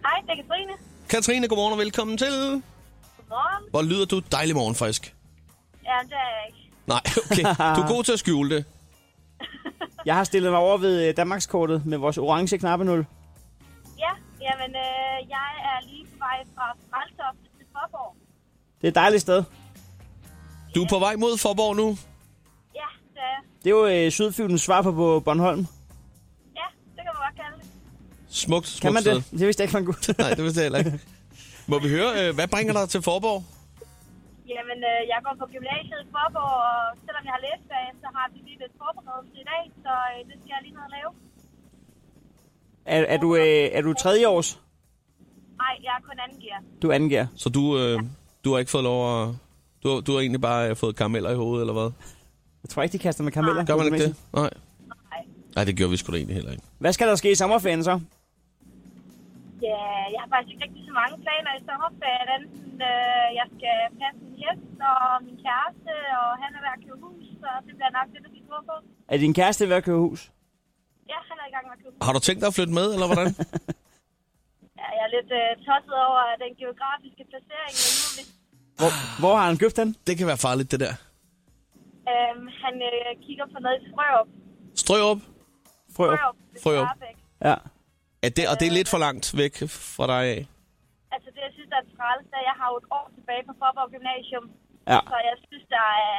Speaker 4: Hej, det er Katrine.
Speaker 2: Katrine, godmorgen og velkommen til.
Speaker 4: Godmorgen.
Speaker 2: Hvor lyder du dejlig morgenfrisk?
Speaker 4: Ja, det er jeg ikke.
Speaker 2: Nej, okay. Du er god til at skjule det.
Speaker 3: Jeg har stillet mig over ved øh, Danmarkskortet med vores orange knappenul.
Speaker 4: Ja, jamen, øh, jeg er lige på vej fra Freltofte til Forborg.
Speaker 3: Det er et dejligt sted.
Speaker 2: Du er på vej mod Forborg nu.
Speaker 4: Ja, det er jeg.
Speaker 3: Det er jo øh, Sydfyldens svar på- på Bornholm.
Speaker 4: Ja, det kan man godt kalde det.
Speaker 2: Smukt, smukt
Speaker 3: Kan man
Speaker 2: sted.
Speaker 3: det? Det vidste jeg ikke, man kunne.
Speaker 2: Nej, det vidste jeg heller ikke. Må vi høre, øh, hvad bringer dig til Forborg?
Speaker 4: Jamen, øh, jeg går på gymnasiet i Forborg, og selvom jeg har læsdag, så har vi lige lidt forberedelse i dag, så øh, det skal jeg lige ned og lave.
Speaker 3: er, er, du, øh, er du tredje års?
Speaker 4: Nej, jeg er kun anden gear.
Speaker 3: Du angiver.
Speaker 2: Så du, øh, du har ikke fået lov at... Du, har- du har egentlig bare øh, fået karameller i hovedet, eller hvad?
Speaker 3: Jeg tror ikke, de kaster med karameller.
Speaker 2: Gør man ikke det? Nej. Nej, det gjorde vi sgu da egentlig heller ikke.
Speaker 3: Hvad skal der ske i sommerferien så?
Speaker 4: Ja, jeg har faktisk ikke rigtig så mange planer i sommerferien. Enten øh, jeg skal passe min hest og min kæreste, og han er ved at købe hus, så det bliver nok det, der bliver på.
Speaker 3: Er din kæreste ved at købe hus?
Speaker 4: Ja, han er i gang med at købe hus.
Speaker 2: Har du tænkt dig at flytte med, eller hvordan?
Speaker 4: Ja, jeg er lidt øh, tosset over den geografiske placering, men nu hvis
Speaker 3: Hvor, hvor har han købt den?
Speaker 2: det kan være farligt, det der.
Speaker 4: øh, han øh, kigger på noget i Frørup.
Speaker 2: Strø op.
Speaker 3: Frø.
Speaker 4: ved
Speaker 2: Frørup.
Speaker 4: Skarbæk.
Speaker 3: Ja.
Speaker 2: Ja, det, og det er lidt for langt væk fra dig af.
Speaker 4: Altså det, jeg synes, der er træls, da jeg har jo et år tilbage på Forborg Gymnasium.
Speaker 3: Ja.
Speaker 4: Så jeg synes, der er,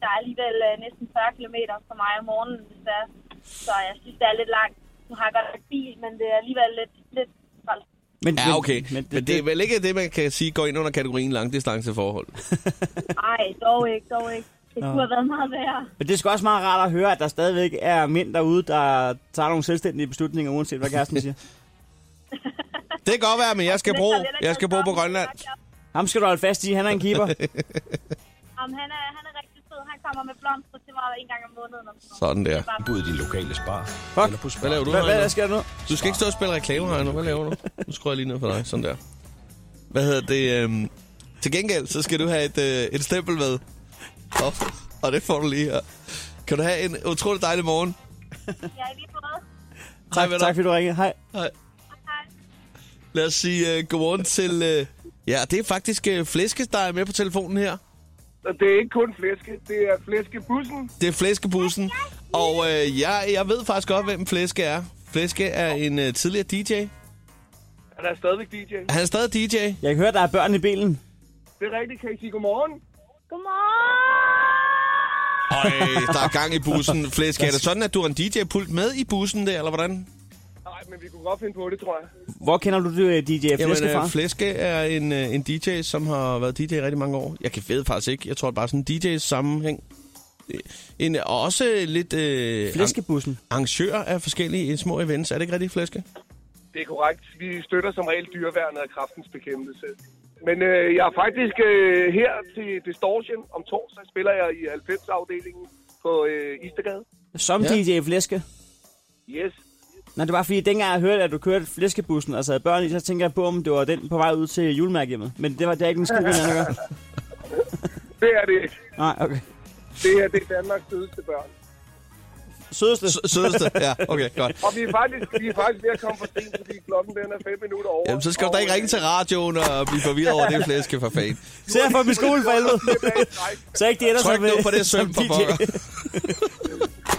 Speaker 4: der er alligevel øh, næsten 40 km for mig om morgenen, hvis det er. Så jeg synes, det er lidt langt. Nu har jeg godt nok bil, men det er alligevel lidt, lidt træls.
Speaker 3: Men,
Speaker 2: Ja, okay. Men, men det er vel ikke det, man kan sige går ind under kategorien langdistanceforhold.
Speaker 4: Nej, dog ikke, dog ikke. Det kunne have været meget værre.
Speaker 3: Men det er sgu også meget rart at høre, at der stadigvæk er mænd derude, der tager nogle selvstændige beslutninger, uanset hvad kæresten siger.
Speaker 2: Det kan godt være, men jeg skal
Speaker 4: Men
Speaker 2: bo,
Speaker 4: der er heller ikke
Speaker 2: jeg skal bo
Speaker 4: noget
Speaker 2: på
Speaker 4: samme.
Speaker 2: Grønland.
Speaker 3: Ham skal du holde fast i, han er en keeper.
Speaker 4: Jamen, han, er, han er rigtig sød. Han kommer med blomster til mig en gang om måneden. Om
Speaker 2: Sådan
Speaker 4: sådan
Speaker 2: der.
Speaker 9: Både din lokale spar
Speaker 3: Fuck.
Speaker 9: eller på spar.
Speaker 2: Hvad laver du,
Speaker 3: Hvad, hvad
Speaker 2: Heino?
Speaker 3: der sker der nu?
Speaker 2: Du skal ikke stå og spille reklamer, Heino. Hvad laver du? Nu skruer jeg lige ned for dig. Sådan der. Hvad hedder det? Øhm, til gengæld, så skal du have et, øh, et stempel med. Og, og det får du lige her. Kan du have en utrolig dejlig morgen.
Speaker 4: noget. Jeg er lige måde.
Speaker 2: Hej med
Speaker 3: Tak
Speaker 2: dig.
Speaker 3: fordi du ringede. Hej.
Speaker 2: Hej.
Speaker 4: Hej.
Speaker 2: Lad os sige øh, godmorgen til... Øh, ja, det er faktisk øh, flæskesteg med på telefonen her.
Speaker 10: Og Det er ikke kun flæske, det er flæskebussen.
Speaker 2: Det er flæskebussen. Og øh, jeg, jeg ved faktisk godt, hvem Flæske er. Flæske er en øh, tidligere DJ.
Speaker 10: Han er stadigvæk DJ.
Speaker 2: Han er stadig DJ.
Speaker 3: Jeg kan høre, der er børn i bilen.
Speaker 10: Det er rigtigt, kan I sige godmorgen?
Speaker 4: Godmorgen!
Speaker 2: Øj, der er gang i bussen. Flæsk, er det sådan, at du har en DJ-pult med i bussen der, eller hvordan?
Speaker 6: Nej, men vi kunne godt finde på det, tror jeg.
Speaker 3: Hvor kender du det, øh, DJ Flæske
Speaker 2: Jamen,
Speaker 3: fra?
Speaker 2: øh, Flæske er en, øh, en DJ, som har været DJ i rigtig mange år. Jeg kan ved faktisk ikke. Jeg tror, det er bare sådan en DJ-sammenhæng. Øh, En, og også lidt øh,
Speaker 3: Flæskebussen.
Speaker 2: ar- arrangør af forskellige øh, små events. Er det ikke rigtigt, Flæske?
Speaker 8: Det er korrekt. Vi støtter som regel dyreværnet og kraftens bekæmpelse. Men øh, jeg er faktisk øh, her til Distortion. Om torsdag spiller jeg i 90-afdelingen på øh, Istergade.
Speaker 3: Som
Speaker 2: Ja.
Speaker 3: DJ Flæske.
Speaker 8: Yes.
Speaker 3: Nå, det var fordi, dengang jeg hørte, at du kørte flæskebussen og sad børn i, så tænker jeg på, om det var den på vej ud til julemærkehjemmet. Men det var der ikke en skid, ved, at gøre.
Speaker 8: Det er det ikke.
Speaker 3: Nej, okay.
Speaker 8: Det her det er Danmarks sødeste børn.
Speaker 3: Sødeste.
Speaker 2: S- Sødeste? Ja, okay, godt.
Speaker 8: Og vi er faktisk, vi er faktisk ved at komme for sent, fordi klokken den er fem minutter over. øh,
Speaker 2: Jamen, så skal du da ikke ringe til radioen og blive forvirret over det, Flæske, for fanden.
Speaker 3: Se jeg får min skole for helvede. Så ikke de ender
Speaker 2: Tryk
Speaker 3: som, øh,
Speaker 2: nu på det
Speaker 3: som
Speaker 2: søm, for
Speaker 3: DJ.
Speaker 2: pokker.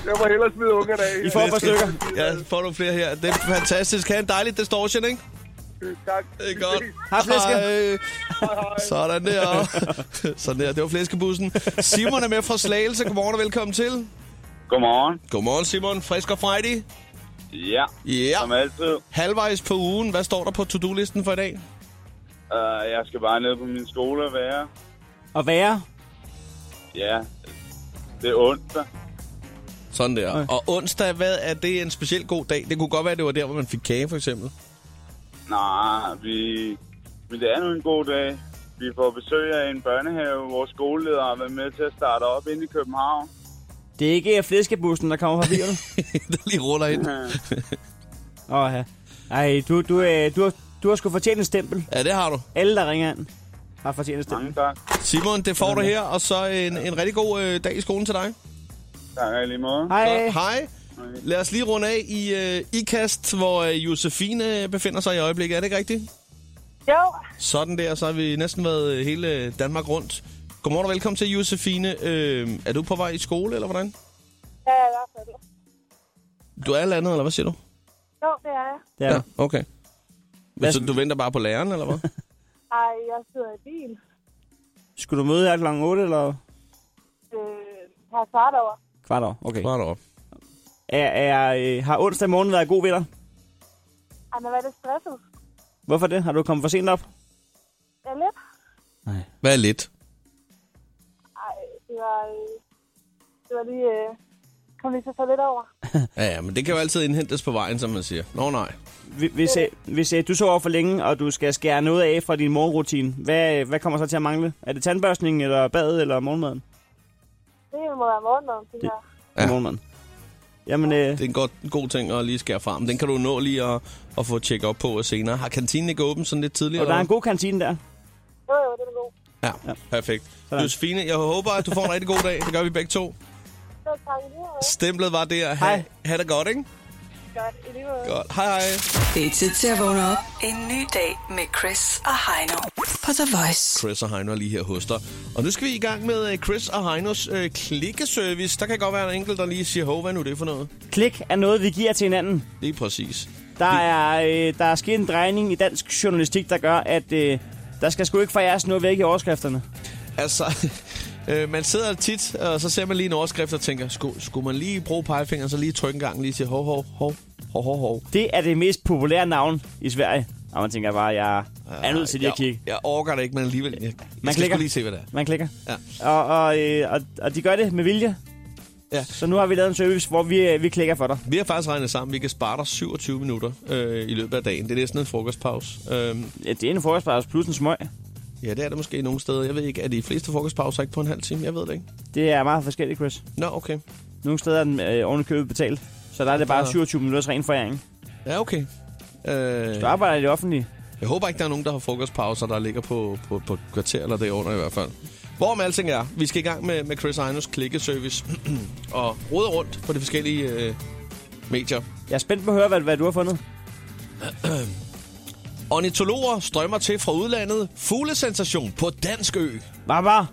Speaker 8: Jeg må hellere smide ungerne af.
Speaker 3: I får et par stykker.
Speaker 2: Ja, får du flere her. Det er fantastisk. Ha' en dejlig distortion, ikke?
Speaker 8: Tak.
Speaker 2: Det er godt.
Speaker 3: Hej, Flæske.
Speaker 2: Hej. Sådan der. Sådan der. Det var flæskebussen. Simon er med fra Slagelse. Godmorgen og velkommen til.
Speaker 9: Godmorgen.
Speaker 2: Godmorgen, Simon. Frisk og Friday.
Speaker 9: Ja,
Speaker 2: Ja.
Speaker 9: som altid.
Speaker 2: Halvvejs på ugen. Hvad står der på to-do-listen for i dag?
Speaker 9: Uh, jeg skal bare ned på min skole og være.
Speaker 3: Og være.
Speaker 9: Ja, det er onsdag.
Speaker 2: Sådan der. Og onsdag, hvad er det en speciel god dag? Det kunne godt være, det var der, hvor man fik kage, for eksempel.
Speaker 9: Nej, vi... Men det er nu en god dag. Vi får besøg af en børnehave, hvor skoleleder har været med til at starte op inde i København.
Speaker 3: Det er ikke øh, flæskebussen, der kommer forbi, eller?
Speaker 2: der lige ruller ind.
Speaker 9: Øh,
Speaker 3: Åh, ja. Ej, du, du, øh, du, har, du har sgu fortjent en stempel.
Speaker 2: Ja, det har du.
Speaker 3: Alle, der ringer ind, har fortjent en stempel.
Speaker 9: Mange tak.
Speaker 2: Simon, det får du her. Og så en, en rigtig god øh, dag i skolen til dig.
Speaker 9: Tak i lige måde.
Speaker 3: Hej.
Speaker 2: Godt. Hej. Lad os lige runde af i øh, IKAST, hvor øh, Josefine befinder sig i øjeblikket. Er det ikke rigtigt?
Speaker 5: Jo,
Speaker 2: Sådan der, så har vi næsten været øh, hele Danmark rundt. Godmorgen og velkommen til, Josefine. Øh, er du på vej i skole, eller hvordan?
Speaker 5: ja, i hvert fald.
Speaker 2: Du er landet, eller hvad siger du?
Speaker 5: Jo, det er jeg.
Speaker 3: Det er du.
Speaker 2: okay. Men, så du venter bare på læreren, eller hvad?
Speaker 5: Ej, jeg sidder i bil.
Speaker 3: Skulle du møde her kl. 8 eller
Speaker 5: Øh, har fart over.
Speaker 3: kvart over? Okay.
Speaker 2: Bare derop.
Speaker 3: Er, er, øh, har onsdag morgen været god ved dig?
Speaker 5: Ej, men var det stresset?
Speaker 3: Hvorfor det? Har du kommet for sent op?
Speaker 5: Ja, lidt.
Speaker 2: Hvad er lidt?
Speaker 5: Ej, det var, øh, det var lige... Øh, kom lige til at få lidt over.
Speaker 2: Ja, ja, men det kan jo altid indhentes på vejen, som man siger. Nå nej.
Speaker 3: Hvis, hvis, øh, hvis øh, du sover for længe, og du skal skære noget af fra din morgenrutine, hvad, øh, hvad kommer så til at mangle? Er det tandbørstning, eller badet, eller morgenmaden?
Speaker 5: Det må være morgenmaden, det her.
Speaker 2: Ja.
Speaker 3: Morgenmaden. Jamen, øh,
Speaker 2: Det er en, godt, en god ting at lige skære fra. Men den kan du nå lige at, at få tjekket op på senere. Har kantinen ikke åben sådan lidt tidligere?
Speaker 3: og der er en
Speaker 2: eller
Speaker 3: god kantine der.
Speaker 5: Jo, jo, det er god.
Speaker 2: hvad? Ja, perfekt.
Speaker 3: Sådan.
Speaker 2: Josefine, jeg håber, at du får en rigtig god dag. Det gør vi begge to.
Speaker 5: Så tak i lige måde.
Speaker 2: Stemplet var der. Ha,
Speaker 3: Hej.
Speaker 2: ha det godt, ikke?
Speaker 5: Godt, i lige måde.
Speaker 2: Godt. Hej, hej.
Speaker 1: Det er tid til at vågne op. En ny dag med Chris og Heino på The Voice.
Speaker 2: Chris og Heino er lige her hos dig. Og nu skal vi i gang med øh, Chris og Heinos øh, klikkeservice. Der kan godt være en enkelt, der lige siger, hov, hvad er nu det for noget?
Speaker 3: Klik er noget, vi giver til hinanden.
Speaker 2: Lige præcis.
Speaker 3: Der er, øh, der er sket en drejning i dansk journalistik, der gør, at øh, der skal sgu ikke fejres noget væk i overskrifterne.
Speaker 2: Altså, øh, man sidder tit, og så ser man lige en overskrift og tænker, skulle, skulle man lige bruge pegefingeren, så lige trykke en gang, lige sige, hov, hov, hov, hov, hov, hov.
Speaker 3: Det er det mest populære navn i Sverige. Og man tænker bare, jeg er nødt til lige at kigge.
Speaker 2: Ah, Jeg, jeg orker det ikke, men alligevel, jeg, jeg man skal
Speaker 3: klikker.
Speaker 2: sgu lige se, hvad det er.
Speaker 3: Man klikker.
Speaker 2: Ja.
Speaker 3: Og, og, øh, og, og de gør det med vilje.
Speaker 2: Ja.
Speaker 3: Så nu har vi lavet en service, hvor vi, øh, vi klikker for dig.
Speaker 2: Vi har faktisk regnet sammen, vi kan spare dig 27 minutter øh, i løbet af dagen. Det er næsten en frokostpause. Øh,
Speaker 3: Ja, det er en forespørgsel plus en smøg.
Speaker 2: ja, det er det måske nogle steder. Jeg ved ikke, er de fleste frokostpauser ikke på en halv time? Jeg ved det ikke.
Speaker 3: Det er meget forskelligt, Chris.
Speaker 2: Nå, okay.
Speaker 3: Nogle steder er den øh, oven i købet betalt. Så der er det bare 27 minutters ren foræring.
Speaker 2: Ja, okay. Øh,
Speaker 3: Du arbejder i det offentlige.
Speaker 2: jeg håber ikke, der er nogen, der har frokostpauser, der ligger på, på, på et kvarter eller derunder i hvert fald. Hvorom alting er, vi skal i gang med, med Chris Einos klikkeservice og rode rundt på de forskellige øh, medier.
Speaker 3: Jeg er spændt på at høre, hvad, hvad du har fundet.
Speaker 2: Ornitologer strømmer til fra udlandet. Fuglesensation på dansk ø.
Speaker 3: Hvad var?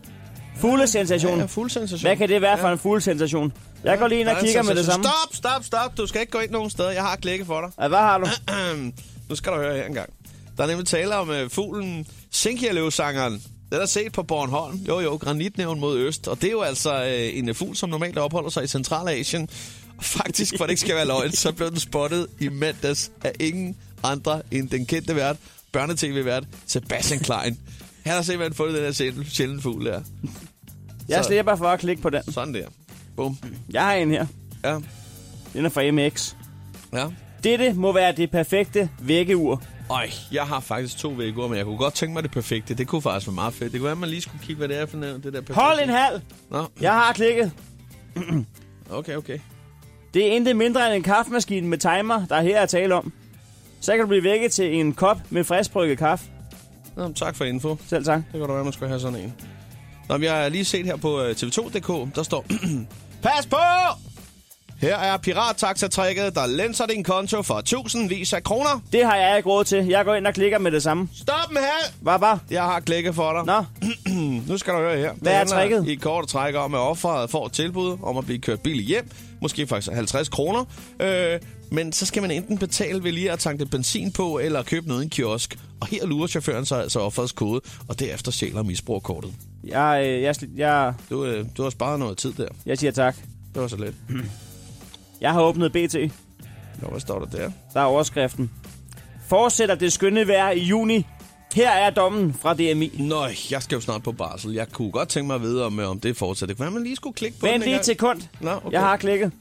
Speaker 3: Fuglesensation.
Speaker 2: Ja, fuglesensation.
Speaker 3: Hvad kan det være for
Speaker 2: Ja.
Speaker 3: en fuglesensation? Jeg går lige ind og
Speaker 2: Der er en
Speaker 3: kigger med det
Speaker 2: sensation.
Speaker 3: samme.
Speaker 2: Stop, stop, stop. Du skal ikke gå ind nogen steder. Jeg har klikket for dig.
Speaker 3: Ja, Hvad har du?
Speaker 2: nu skal du høre her engang. Der er nemlig tale om øh, fuglen Sinkialøvsangeren Den er set på Bornholm. Jo, jo, granitnævn mod øst. Og det er jo altså øh, en øh, fugl, som normalt opholder sig i Centralasien. Og Faktisk, for det ikke skal være løgn, så blev den spottet i mandags af ingen andre end den kendte vært, børnetv-vært Sebastian Klein. Han har simpelthen fundet den her sjældne, sjældne fugl der.
Speaker 3: Jeg
Speaker 2: Så-
Speaker 3: slipper for at klikke på den.
Speaker 2: Sådan der. Bum.
Speaker 3: Jeg har en her.
Speaker 2: Ja,
Speaker 3: Den er fra MX.
Speaker 2: ja.
Speaker 3: Dette må være det perfekte vækkeur.
Speaker 2: Øj, jeg har faktisk to vægger, men jeg kunne godt tænke mig det perfekte. Det kunne faktisk være meget fedt. Det kunne være, at man lige skulle kigge, hvad det er for noget, det der perfekte.
Speaker 3: Hold en halv!
Speaker 2: Nå,
Speaker 3: Jeg har klikket.
Speaker 2: okay, okay.
Speaker 3: Det er intet mindre end en kaffemaskine med timer, der her er tale om. Så kan du blive vækket til en kop med friskbrygget kaffe.
Speaker 2: Nå, men tak for info.
Speaker 3: Selv tak.
Speaker 2: Det kunne da være, man skulle have sådan en. Nå, men jeg har lige set her på øh, tv2.dk, der står... Pas på! Her er pirattaxatrækket, der lænser din konto for tusindvis af kroner.
Speaker 3: Det har jeg ikke råd til. Jeg går ind og klikker med det samme.
Speaker 2: Stop med her!
Speaker 3: Hvad var?
Speaker 2: Jeg har klikket for dig.
Speaker 3: Nå,
Speaker 2: Nu skal du høre her.
Speaker 3: Hvad er
Speaker 2: Det handler
Speaker 3: tricket?
Speaker 2: I kort træk om, at offeret får et tilbud om at blive kørt billigt hjem. Måske faktisk 50 kroner. Øh, men så skal man enten betale ved lige at tanke lidt benzin på, eller købe noget i en kiosk. Og her lurer chaufføren sig altså offerets kode, og derefter stjæler og misbruger kortet.
Speaker 3: jeg, øh, jeg, sli- jeg,
Speaker 2: Du, øh, du har sparet noget tid der.
Speaker 3: jeg siger tak.
Speaker 2: Det var så lidt.
Speaker 3: Jeg har åbnet BT.
Speaker 2: Nå, hvad står der der?
Speaker 3: Der er overskriften. Fortsætter det skønne vejr i juni. Her er dommen fra DMI.
Speaker 2: Nå, jeg skal jo snart på barsel. Jeg kunne godt tænke mig at vide, om, øh, om det fortsætter. Det kunne være, man lige skulle klikke på den
Speaker 3: Vent
Speaker 2: en
Speaker 3: lige
Speaker 2: gang.
Speaker 3: et sekund.
Speaker 2: Nå, okay.
Speaker 3: Jeg har klikket.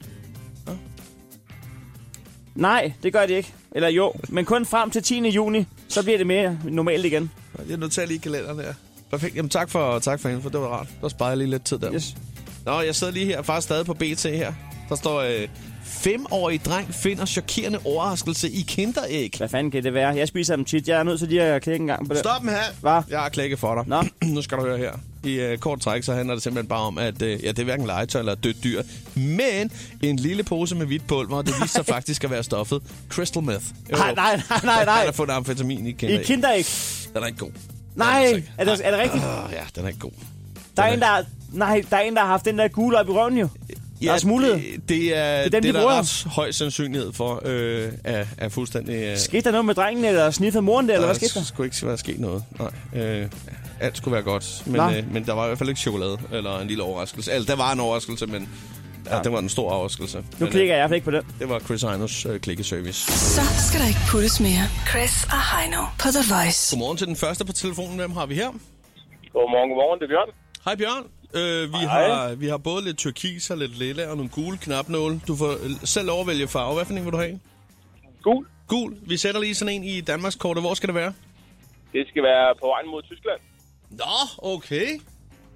Speaker 3: Nej, det gør det ikke. Eller jo, men kun frem til 10. juni, så bliver det mere normalt igen.
Speaker 2: Jeg noterer lige kalenderen her. Perfekt. Jamen tak for, tak for info. Det var rart. Der sparede jeg lige lidt tid der.
Speaker 3: Yes.
Speaker 2: Nå, jeg sidder lige her, faktisk stadig på BT her. Der står, øh, femårig dreng finder chokerende overraskelse i kinderæg.
Speaker 3: Hvad fanden kan det være? Jeg spiser dem tit. Jeg er nødt til lige at klikke en gang på det.
Speaker 2: Stop dem her.
Speaker 3: Hvad?
Speaker 2: Jeg har klikket for dig.
Speaker 3: Nå.
Speaker 2: nu skal du høre her. I øh, kort træk, så handler det simpelthen bare om, at øh, ja, det er hverken legetøj eller et dødt dyr, men en lille pose med hvidt pulver, og det viser sig faktisk at være stoffet crystal meth. Jo,
Speaker 3: Nej,
Speaker 2: jo.
Speaker 3: nej, nej, nej, nej.
Speaker 2: Han har fundet amfetamin i
Speaker 3: I
Speaker 2: kinderæg.
Speaker 3: kinderæg.
Speaker 2: Den er ikke god.
Speaker 3: Nej,
Speaker 2: Den altså
Speaker 3: er det, er det rigtigt?
Speaker 2: ikke- Åh, ja, den er ikke god.
Speaker 3: Der er en, der har, nej, der er en, der har haft den der gule op i røven jo. Ja, der er smuglet.
Speaker 2: Det, det er, det
Speaker 3: Det er
Speaker 2: er
Speaker 3: dem, de
Speaker 2: det, der
Speaker 3: bruger.
Speaker 2: er ret høj sandsynlighed for, øh, er, er fuldstændig... Øh,
Speaker 3: Skete der noget med drengen, eller sniffede moren der, eller hvad skete
Speaker 2: der?
Speaker 3: der?
Speaker 2: skulle ikke være sket noget. Nej, øh, alt skulle være godt, men,
Speaker 3: Nå.
Speaker 2: øh, men der var i hvert fald ikke chokolade, eller en lille overraskelse. Altså, der var en overraskelse, men ja, det var en stor overraskelse.
Speaker 3: Nu
Speaker 2: men,
Speaker 3: klikker jeg i hvert fald ikke på den.
Speaker 2: Øh, det var Chris Heinos øh, klikkeservice.
Speaker 1: Så skal der ikke puttes mere. Chris og Heino på The Voice.
Speaker 2: Godmorgen til den første på telefonen. Hvem har vi her?
Speaker 8: Godmorgen, godmorgen. Det er Bjørn.
Speaker 2: Hej Bjørn. Øh, vi, har, vi har både lidt turkis og lidt lilla og nogle gule knapnåle. Du får øh, selv overvælge farve. Hvad for en vil du have?
Speaker 8: Gul.
Speaker 2: Gul. Vi sætter lige sådan en i Danmarkskortet. Hvor skal det være?
Speaker 8: Det skal være på vejen mod Tyskland.
Speaker 2: Nå, okay.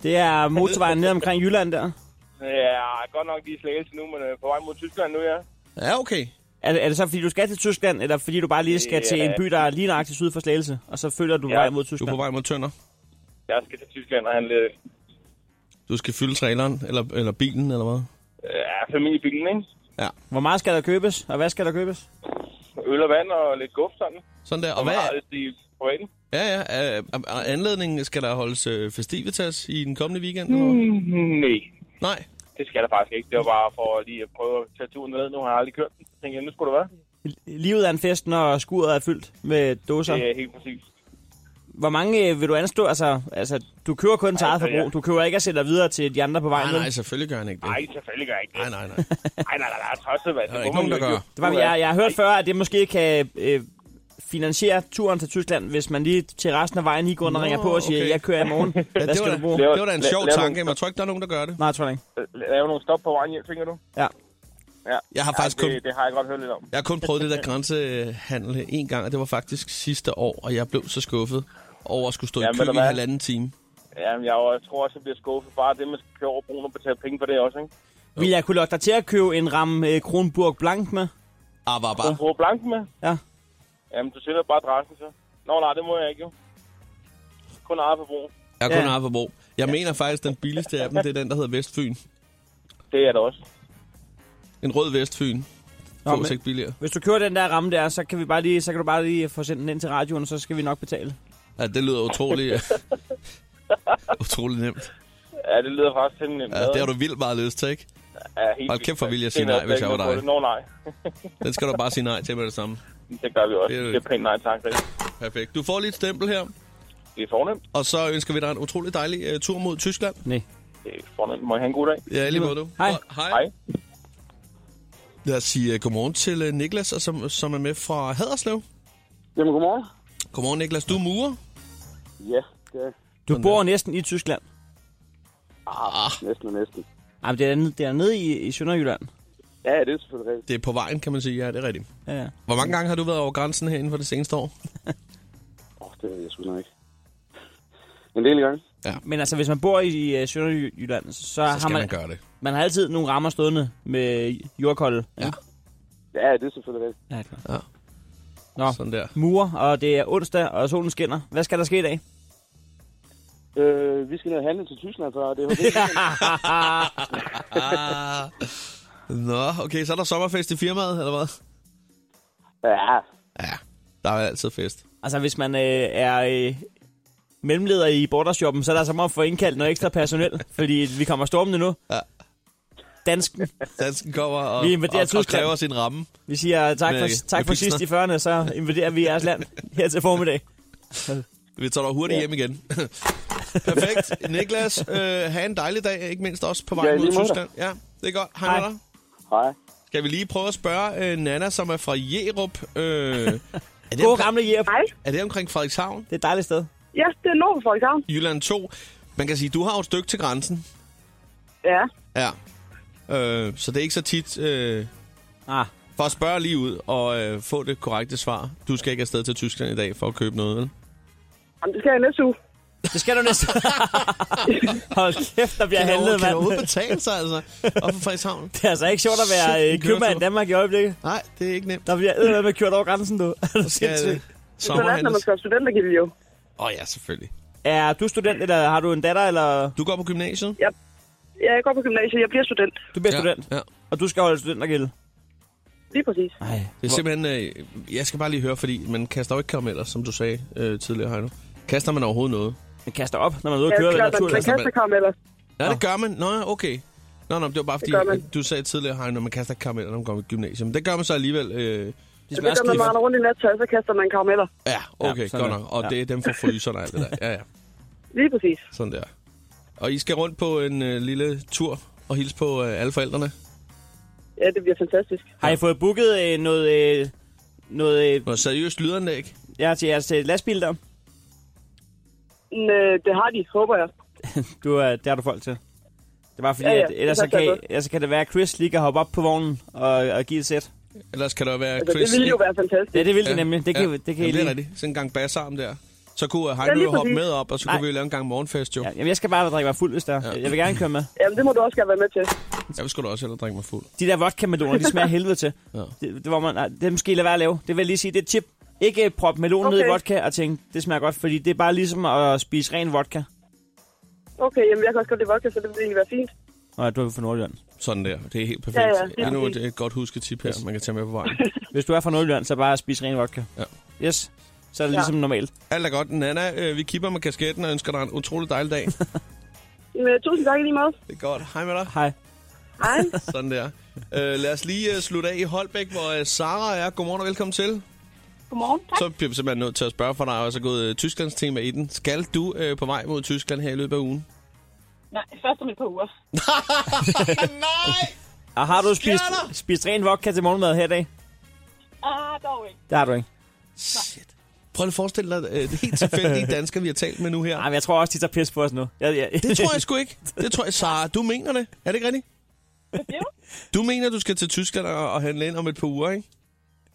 Speaker 3: Det er motorvejen ned omkring Jylland der.
Speaker 8: Ja, godt nok de slægelse nu, men øh, på vej mod Tyskland nu, ja.
Speaker 2: Ja, okay.
Speaker 3: Er det, er det så, fordi du skal til Tyskland, eller fordi du bare lige skal
Speaker 8: Ja.
Speaker 3: til en by, der er lige nøjagtigt syd for Slagelse, og så følger du
Speaker 8: Ja.
Speaker 3: vej mod
Speaker 2: Du er på
Speaker 3: Tyskland?
Speaker 2: vej mod Tønder.
Speaker 8: Jeg skal til Tyskland og handle øh,
Speaker 2: Du skal fylde traileren, eller, eller bilen, eller hvad?
Speaker 8: øh, ja, familiebilen, ikke?
Speaker 3: Hvor meget skal der købes, og hvad skal der købes?
Speaker 8: Øl og vand og lidt guf sådan.
Speaker 2: Sådan der. Og
Speaker 8: Hvad
Speaker 2: hvad?
Speaker 8: er det i privaten?
Speaker 2: Ja, ja. øh, øh, øh, Anledningen skal der holdes øh, festivitas i den kommende weekend, eller hvad?
Speaker 8: Nej,
Speaker 2: Nej.
Speaker 8: det skal der faktisk ikke. Det var bare for lige at prøve at tage turen ned. Nu har jeg aldrig kørt den. Så tænkte jeg, nu skulle det være.
Speaker 3: Livet er en fest, når skuret er fyldt med dåser.
Speaker 8: Det er helt præcis.
Speaker 3: Hvor mange øh, vil du anstå? Altså, altså du kører kun til eget
Speaker 8: Altså,
Speaker 3: forbrug.
Speaker 8: ja.
Speaker 3: Du køber ikke at sætte dig videre til de andre på vejen.
Speaker 2: Nej,
Speaker 3: vel?
Speaker 2: nej, selvfølgelig gør han ikke det.
Speaker 8: Nej, selvfølgelig gør jeg ikke
Speaker 2: Nej,
Speaker 8: det.
Speaker 2: nej, nej.
Speaker 8: Nej, nej, nej, nej, tosset, hvad?
Speaker 2: Der er ikke nogen, der gør.
Speaker 3: Det var, jeg, jeg har hørt før, at det måske kan øh, finansiere turen til Tyskland, hvis man lige til resten af vejen lige går ind og
Speaker 2: Nå,
Speaker 3: ringer på og siger,
Speaker 2: okay.
Speaker 3: jeg kører i morgen.
Speaker 2: Ja,
Speaker 3: Hvad
Speaker 2: det, var
Speaker 3: skal
Speaker 2: da,
Speaker 3: du bruge?
Speaker 8: Lav-
Speaker 2: det var da en
Speaker 8: la-
Speaker 2: sjov
Speaker 8: lav-
Speaker 2: tanke, men jeg tror ikke, der er nogen, der gør det.
Speaker 3: Nej, jeg tror jeg ikke.
Speaker 8: Lave nogle stop på vejen hjem, tænker du?
Speaker 3: Ja.
Speaker 8: Ja,
Speaker 2: Jeg har faktisk
Speaker 8: ja,
Speaker 2: kun-
Speaker 8: det, det har jeg godt hørt lidt om.
Speaker 2: Jeg har kun prøvet det der grænsehandel en gang, og det var faktisk sidste år, og jeg blev så skuffet over at skulle stå
Speaker 8: Ja,
Speaker 2: i
Speaker 8: men
Speaker 2: kø
Speaker 8: ved
Speaker 2: i
Speaker 8: du hvad?
Speaker 2: halvanden time.
Speaker 8: Jamen, jeg jo- jeg tror også, jeg bliver skuffet. Bare det, man skal køre over broen og betale penge for det også, ikke?
Speaker 3: Vil jeg kunne lokke dig til at købe en ramme øh, Kronburg Blank med?
Speaker 2: Ah, var
Speaker 8: Du
Speaker 2: bare.
Speaker 8: bruger blanken med?
Speaker 3: Ja.
Speaker 8: Jamen, du sælger bare adressen så. Nå, nej, det må jeg ikke jo. Kun eget forbrug.
Speaker 2: Jeg er kun
Speaker 3: Ja.
Speaker 2: ja. Arverbro. Jeg mener faktisk, den billigste af dem, det er den, der hedder Vestfyn.
Speaker 8: Det er det også.
Speaker 2: En rød Vestfyn.
Speaker 3: Nå,
Speaker 2: Få
Speaker 3: men-
Speaker 2: ikke billigere.
Speaker 3: Hvis du kører den der ramme der, så kan, vi bare lige, så kan du bare lige få sendt den ind til radioen, og så skal vi nok betale.
Speaker 2: Ja, det lyder utroligt, utroligt nemt.
Speaker 8: Ja, det lyder faktisk temmelig nemt.
Speaker 2: Ja, det har du vildt meget lyst til, ikke?
Speaker 8: Ja, helt
Speaker 2: Hold kæft, hvor
Speaker 8: vildt.
Speaker 2: ville jeg
Speaker 8: Det er
Speaker 2: sige nej,
Speaker 8: noget,
Speaker 2: hvis jeg var
Speaker 8: ikke noget
Speaker 2: dig.
Speaker 8: på det. Nå, nej.
Speaker 2: Den skal du bare sige nej til med det samme.
Speaker 8: Det gør vi også.
Speaker 2: Det er jo-
Speaker 8: Det er pænt nej, tak. Det.
Speaker 2: Perfekt. Du får lige et stempel her.
Speaker 8: Det er fornemt.
Speaker 2: Og så ønsker vi dig en utrolig dejlig uh, tur mod Tyskland.
Speaker 3: Nej.
Speaker 8: Det er fornemt. Må I have en god dag?
Speaker 2: Ja, lige måde du.
Speaker 3: Hej.
Speaker 2: Og, hej.
Speaker 8: Hej.
Speaker 2: Lad os sige uh, godmorgen til uh, Niklas, og som, som er med fra Haderslev.
Speaker 9: Jamen, godmorgen.
Speaker 2: Godmorgen Niklas, du er murer.
Speaker 9: Ja, det er
Speaker 3: Du bor næsten i Tyskland. Ah.
Speaker 2: Ah,
Speaker 9: næsten og næsten.
Speaker 3: Jamen, det er, dernede- det er nede i, i Sønderjylland.
Speaker 9: Ja, det er selvfølgelig rigtigt.
Speaker 2: Det er på vejen, kan man sige. Ja, det er rigtigt.
Speaker 3: Ja, ja.
Speaker 2: Hvor mange gange har du været over grænsen her inden for det seneste år?
Speaker 9: Åh, det ved jeg sgu nok ikke. En del gange.
Speaker 3: Men altså, hvis man bor i, i øh, Sønderjylland, så, så
Speaker 2: Så
Speaker 3: har
Speaker 2: skal
Speaker 3: man,
Speaker 2: man gøre det.
Speaker 3: man har altid nogle rammer stående med jordkolde. Ja.
Speaker 9: Ja, det er selvfølgelig rigtigt.
Speaker 3: ja klar.
Speaker 2: Ja.
Speaker 3: Nå,
Speaker 2: Sådan der.
Speaker 3: murer, og det er onsdag, og solen skinner. Hvad skal der ske i dag?
Speaker 9: Øh, vi skal ned og handle til Tyskland, så det er okay.
Speaker 2: Nå, okay, så er der sommerfest i firmaet, eller hvad?
Speaker 9: ja,
Speaker 2: Ja, der er altid fest.
Speaker 3: Altså, hvis man øh, er øh, mellemleder i bordershoppen, så er der som om at få indkaldt noget ekstra personel, fordi vi kommer stormende nu.
Speaker 2: Ja.
Speaker 3: Dansken.
Speaker 2: Dansken kommer og,
Speaker 3: Vi
Speaker 2: og,
Speaker 3: invaderer
Speaker 2: og
Speaker 3: Tyskland.
Speaker 2: kræver sin ramme.
Speaker 3: Vi siger tak for,
Speaker 2: Med-
Speaker 3: tak
Speaker 2: med
Speaker 3: for sidst i 40'erne, så invaderer vi jeres land her til formiddag.
Speaker 2: Vi tager dig hurtigt hjem igen. Perfekt. Niklas, øh, have en dejlig dag, ikke mindst også på vej
Speaker 9: Ja,
Speaker 2: ja,
Speaker 9: i
Speaker 2: mod
Speaker 9: lige måde.
Speaker 2: Tyskland. Ja, det er godt. Hej,
Speaker 3: Hej.
Speaker 2: Hej. Med dig.
Speaker 9: hej.
Speaker 2: Skal vi lige prøve at spørge øh, Nana, som er fra Jerup. Øh, er, det
Speaker 3: God
Speaker 2: omkring,
Speaker 3: gamle Jerup.
Speaker 5: Hej.
Speaker 2: er det omkring Frederikshavn,
Speaker 3: Det er et dejligt sted.
Speaker 5: Ja, det er Nord for eksempel.
Speaker 2: Jylland 2? Man kan sige, du har jo et stykke til grænsen.
Speaker 5: Ja.
Speaker 2: Ja. Øh, så det er ikke så tit... Øh,
Speaker 3: Ah,
Speaker 2: for at spørge lige ud og øh, få det korrekte svar. Du skal ikke afsted til Tyskland i dag for at købe noget, vel?
Speaker 5: Jamen, det skal jeg næste uge.
Speaker 3: det skal du næste. Hold kæft, der bliver
Speaker 2: Kan det over-
Speaker 3: handlet,
Speaker 2: Kan det
Speaker 3: mand.
Speaker 2: overhovedet betale sig, altså? Og for Frederikshavn?
Speaker 3: Det er altså ikke sjovt at være øh,
Speaker 2: Shit,
Speaker 3: købmand i
Speaker 2: køretur.
Speaker 3: Danmark i øjeblikket.
Speaker 2: Nej, det er ikke nemt.
Speaker 3: Der bliver ædermed med kørt over grænsen, du. Er
Speaker 2: Skal
Speaker 3: du sindssyg?
Speaker 5: Sådan, når man
Speaker 2: sommerhandles?
Speaker 5: skal have studentergilde jo.
Speaker 2: Åh oh, ja, selvfølgelig.
Speaker 3: Er du student, eller har du en datter, eller
Speaker 2: Du går på gymnasiet?
Speaker 5: Ja, jeg går på gymnasiet. Jeg bliver student.
Speaker 3: du bliver student,
Speaker 2: Ja, ja.
Speaker 3: og du skal holde studentergæld?
Speaker 5: Lige præcis.
Speaker 3: Nej.
Speaker 2: Det er simpelthen... Øh, jeg skal bare lige høre, fordi man kaster jo ikke karameller, som du sagde øh, tidligere, Heino. Kaster man overhovedet noget?
Speaker 3: Man kaster op, når man er ude
Speaker 5: Ja,
Speaker 3: at køre.
Speaker 5: klart,
Speaker 3: eller
Speaker 5: man, man
Speaker 3: tur-
Speaker 5: kaster karameller.
Speaker 2: Ja, det gør man. Nå, ja, okay. Nå, nå, det var bare fordi,
Speaker 5: gør man.
Speaker 2: øh, du sagde tidligere, Heino, man kaster ikke karameller, når man går i gymnasiet. Men det gør man så alligevel. Øh,
Speaker 3: Det smager
Speaker 5: Så det gør man
Speaker 3: skidt.
Speaker 5: meget rundt i nattøj, så kaster man karameller.
Speaker 2: ja, okay, ja,
Speaker 3: sådan
Speaker 2: godt
Speaker 3: der.
Speaker 2: nok. Og
Speaker 3: Ja.
Speaker 2: det er dem fra fryseren og alt det der. Ja, ja,
Speaker 5: Lige præcis.
Speaker 2: sådan der. Og I skal rundt på en øh, lille tur og hilse på øh, alle forældrene.
Speaker 5: Ja, det bliver fantastisk.
Speaker 3: Har I fået booket øh, noget, øh, noget øh,
Speaker 2: Noget seriøst lydanlæg.
Speaker 3: ja, til jeres øh, lastbil der?
Speaker 5: Men, øh, det har de, håber jeg.
Speaker 3: Du, øh, det har du folk til. Det var fordi,
Speaker 5: Ja,
Speaker 3: ja,
Speaker 5: ja,
Speaker 3: ja. at
Speaker 5: det
Speaker 3: ellers, så
Speaker 5: passer
Speaker 3: kan,
Speaker 5: godt.
Speaker 3: ellers så kan det være, at Chris lige kan hoppe op på vognen og, og give et sæt.
Speaker 2: Ellers kan der være
Speaker 5: Altså,
Speaker 2: Chris...
Speaker 5: det ville jo være fantastisk.
Speaker 3: Ja, det vil det nemlig. Det kan, ja. det kan I
Speaker 2: Jamen, det er
Speaker 3: lige.
Speaker 2: rigtigt. Sådan en gang bassarm der. Så kunne uh,
Speaker 5: Ja,
Speaker 2: Heino
Speaker 5: lige
Speaker 2: jo hoppe
Speaker 5: præcis.
Speaker 2: med op, og så
Speaker 3: Nej.
Speaker 2: kunne vi jo lave en gang morgenfest jo.
Speaker 3: Ja,
Speaker 2: Ja.
Speaker 3: jamen, jeg skal bare drikke mig fuld, hvis der. Ja. Jeg vil gerne køre med.
Speaker 5: Jamen, det må du også gerne være med til.
Speaker 2: Jeg vil sgu da også hellere drikke mig fuld.
Speaker 3: De der vodka-meloner, de smager af helvede til.
Speaker 2: Ja.
Speaker 3: Det, det, hvor man, nej, det er måske lade være at lave. Det vil jeg lige sige, det er et tip. Ikke øh, prop melonen okay. ned i
Speaker 5: Okay.
Speaker 3: vodka og tænke, det smager godt, fordi det er bare ligesom at spise ren vodka.
Speaker 5: Okay, jamen, jeg kan også godt lide vodka, så det vil egentlig være fint.
Speaker 3: Nå, du er fra Nordjylland.
Speaker 2: Sådan der. Det er helt perfekt.
Speaker 5: Ja, ja,
Speaker 2: det er
Speaker 5: lige
Speaker 2: nu et,
Speaker 5: præcis.
Speaker 2: et godt husketip her, man kan tage med på vejen.
Speaker 3: Hvis du er fra Nordjylland, så bare spis ren vodka.
Speaker 2: Ja.
Speaker 3: Yes, så er det ja. ligesom normalt.
Speaker 2: Alt er godt. Nana, øh, vi kipper med kasketten og ønsker dig en utrolig dejlig dag. det
Speaker 5: Men, øh, tusind tak i lige måde.
Speaker 2: er godt. Hej med dig.
Speaker 3: Hej.
Speaker 5: Hej.
Speaker 2: Sådan der. Øh, lad os lige øh, slutte af i Holbæk, hvor øh, Sara er. Godmorgen og velkommen til.
Speaker 4: Godmorgen, tak.
Speaker 2: Så bliver vi simpelthen nødt til at spørge for dig, og så gået øh, Tysklands tema i den. Skal du øh, på vej mod Tyskland her i løbet af ugen?
Speaker 4: Nej, først om et par uger.
Speaker 2: Nej!
Speaker 3: Og har du spist, spist ren vodka til morgenmad her i dag?
Speaker 4: Ah, dog ikke.
Speaker 3: Det har du ikke.
Speaker 2: Shit. Prøv lige at forestille dig øh, det helt tilfældige dansker, vi har talt med nu her.
Speaker 3: Nej, men jeg tror også, de tager pis på os nu. Jeg, jeg,
Speaker 2: Det tror jeg sgu ikke. Det tror jeg, Sara, du mener det. Er det ikke rigtigt?
Speaker 4: Jo.
Speaker 2: Du mener, du skal til Tyskland og og handle ind om et par uger, ikke?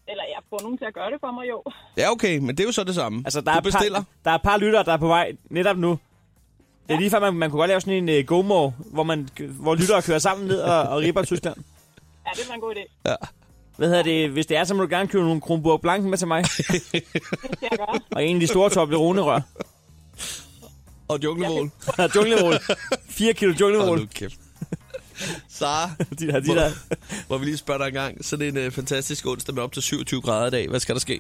Speaker 4: Eller jeg får nogen til at gøre det for mig, jo.
Speaker 2: Ja, okay, men det er jo så det samme.
Speaker 3: altså, der,
Speaker 2: du
Speaker 3: er et
Speaker 2: bestiller.
Speaker 3: par, der er et par lyttere, der er på vej netop nu. Det er lige før, man, man kunne godt lave sådan en uh, gomor, hvor, man, hvor lyttere kører sammen ned og, og ripper Tyskland.
Speaker 4: Ja, det var en god idé.
Speaker 3: Hvad hedder det? Hvis det er, så må du gerne købe nogle Kronborg Blanc med til mig.
Speaker 4: Det skal jeg gøre.
Speaker 3: Og en af de store toppe ronerør.
Speaker 2: Og junglevål.
Speaker 3: Og junglevål. 4 kilo junglevål.
Speaker 2: Hold nu kæft. Sara,
Speaker 3: De der, de der.
Speaker 2: hvor vi lige spørger dig en gang. Sådan en øh, fantastisk onsdag med op til 27 grader i dag. Hvad skal der ske?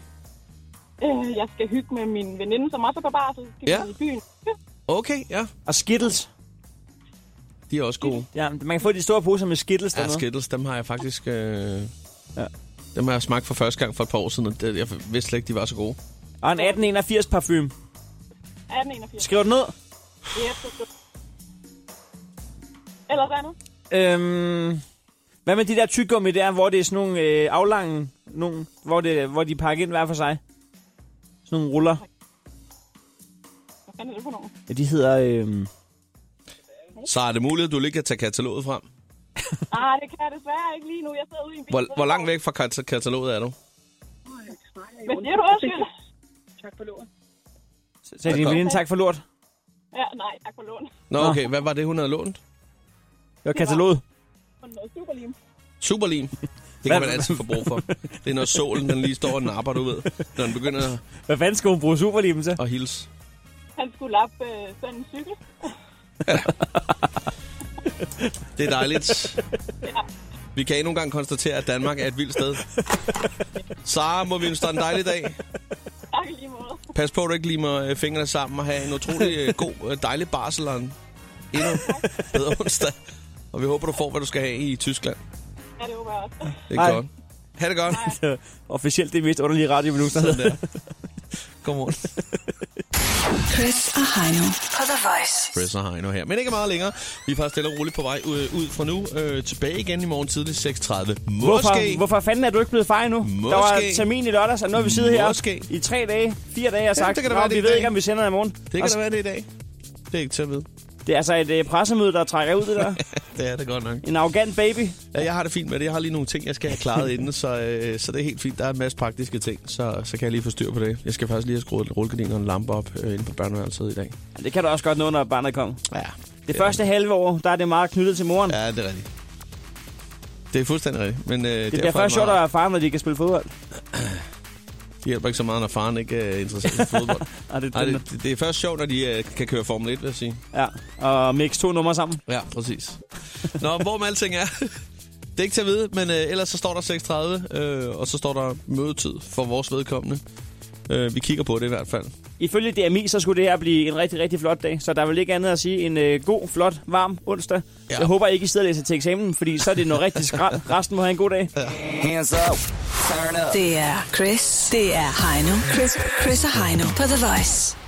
Speaker 4: Øh, jeg skal hygge med min veninde, som også er på bar, så skal
Speaker 2: Ja.
Speaker 4: vi i byen.
Speaker 2: Okay, ja.
Speaker 3: Og skittles.
Speaker 2: De er også gode.
Speaker 3: Ja, man kan få de store poser med skittles
Speaker 2: Ja,
Speaker 3: dernede.
Speaker 2: Skittles, dem har jeg faktisk... Øh...
Speaker 3: Ja.
Speaker 2: Ja. Dem har jeg smagt for første gang for et par år siden, og det, jeg vidste slet ikke, de var så gode.
Speaker 3: Og en 1881 parfume.
Speaker 4: 1881.
Speaker 3: Skriv det ned.
Speaker 4: Yep, det er Ellers andet?
Speaker 3: Øhm, hvad med de der tyggegummi der, hvor det er sådan nogle øh, aflange, nogle, hvor, det, hvor de pakker ind hver for sig? Sådan nogle ruller.
Speaker 4: Hvad fanden er det for nogen?
Speaker 3: Ja, de hedder... Øh,
Speaker 2: Så er det muligt, at du lige kan tage kataloget frem?
Speaker 4: Ah, det kan jeg desværre ikke lige nu. Jeg sidder ude i en bil.
Speaker 2: Hvor, hvor langt væk fra kat- kataloget er du?
Speaker 4: Hvad siger du også, Jylle? Tak for lån.
Speaker 3: sagde din veninde, tak for lort.
Speaker 4: Ja, nej, tak for lån.
Speaker 2: Nå, okay. Hvad var det, hun havde lånt?
Speaker 3: Det var kataloget.
Speaker 4: Og noget superlim.
Speaker 2: Superlim. Det kan man altid få brug for. Det er, når solen den lige står og napper, du ved. Når den begynder
Speaker 3: Hvad fanden skal hun bruge superlimen til?
Speaker 2: at hilse.
Speaker 4: Han skulle lappe øh, sådan en cykel.
Speaker 2: Det er dejligt. Vi kan endnu en gang konstatere, at Danmark er et vildt sted. Sara, må vi ønske dig en dejlig dag.
Speaker 4: Tak i lige måde.
Speaker 2: Pas på, at du ikke limer øh, fingrene sammen og have en utrolig øh, god, øh, dejlig barsel og en endnu bedre onsdag. Og vi håber, du får, hvad du skal have i Tyskland.
Speaker 4: Ja, det håber jeg også.
Speaker 2: Det er
Speaker 3: Hej.
Speaker 2: godt. Ha' det godt.
Speaker 3: Officielt det mest underlige radio, vi nogensinde har lavet.
Speaker 2: Godmorgen.
Speaker 1: Chris og Heino på The Voice.
Speaker 2: Chris og Heino her. Men ikke meget længere. Vi er faktisk stille og roligt på vej ud, ud fra nu. Øh, tilbage igen i morgen tidlig 6.30. Måske.
Speaker 3: Hvorfor, hvorfor fanden er du ikke blevet far endnu? Der var
Speaker 2: Måske.
Speaker 3: termin i lørdags, og nu har vi siddet her
Speaker 2: Måske.
Speaker 3: i tre dage, fire dage og sagt,
Speaker 2: det kan da
Speaker 3: "Nå,
Speaker 2: være, det
Speaker 3: vi
Speaker 2: er
Speaker 3: ved
Speaker 2: i
Speaker 3: ikke,
Speaker 2: dag."
Speaker 3: om vi sender i morgen.
Speaker 2: Det kan da være det i dag. Det er ikke til at vide.
Speaker 3: Det er altså et øh, pressemøde, der trækker ud det der.
Speaker 2: Det er det godt nok.
Speaker 3: En arrogant baby.
Speaker 2: Ja, jeg har det fint med det. Jeg har lige nogle ting, jeg skal have klaret inden, så, øh, så det er helt fint. Der er en masse praktiske ting, så, så kan jeg lige få styr på det. Jeg skal faktisk lige have skruet rullegardiner og en lampe op øh, inde på børneværelset i dag.
Speaker 3: Ja, det kan du også godt nå, når barnet kommer.
Speaker 2: Ja,
Speaker 3: Det første halve år, der er det meget knyttet til moren.
Speaker 2: ja det er rigtigt. Det er fuldstændig rigtigt. Men, øh,
Speaker 3: det bliver først sjovt at være far, når de kan spille fodbold.
Speaker 2: Det hjælper ikke så meget, når faren ikke øh, er interesseret i fodbold.
Speaker 3: Ja, det,
Speaker 2: Nej, det, det er først sjovt, når de øh, kan køre Formel 1, vil jeg sige.
Speaker 3: ja. Og mix to numre sammen.
Speaker 2: Ja, præcis. Nå, hvor med alting er, det er ikke til at vide, men øh, ellers så står der 6.30, øh, og så står der mødetid for vores vedkommende. Øh, vi kigger på det i hvert fald.
Speaker 3: Ifølge DMI, så skulle det her blive en rigtig, rigtig flot dag. Så der er vel ikke andet at sige en øh, god, flot, varm onsdag. Ja. Jeg håber, I ikke I sidder og læser til eksamen, fordi så er det noget rigtig skrald. Resten må have en god dag.
Speaker 1: Hands up. Turn up. Det er Chris. Det er Heino. Chris, Chris og Heino på The Voice.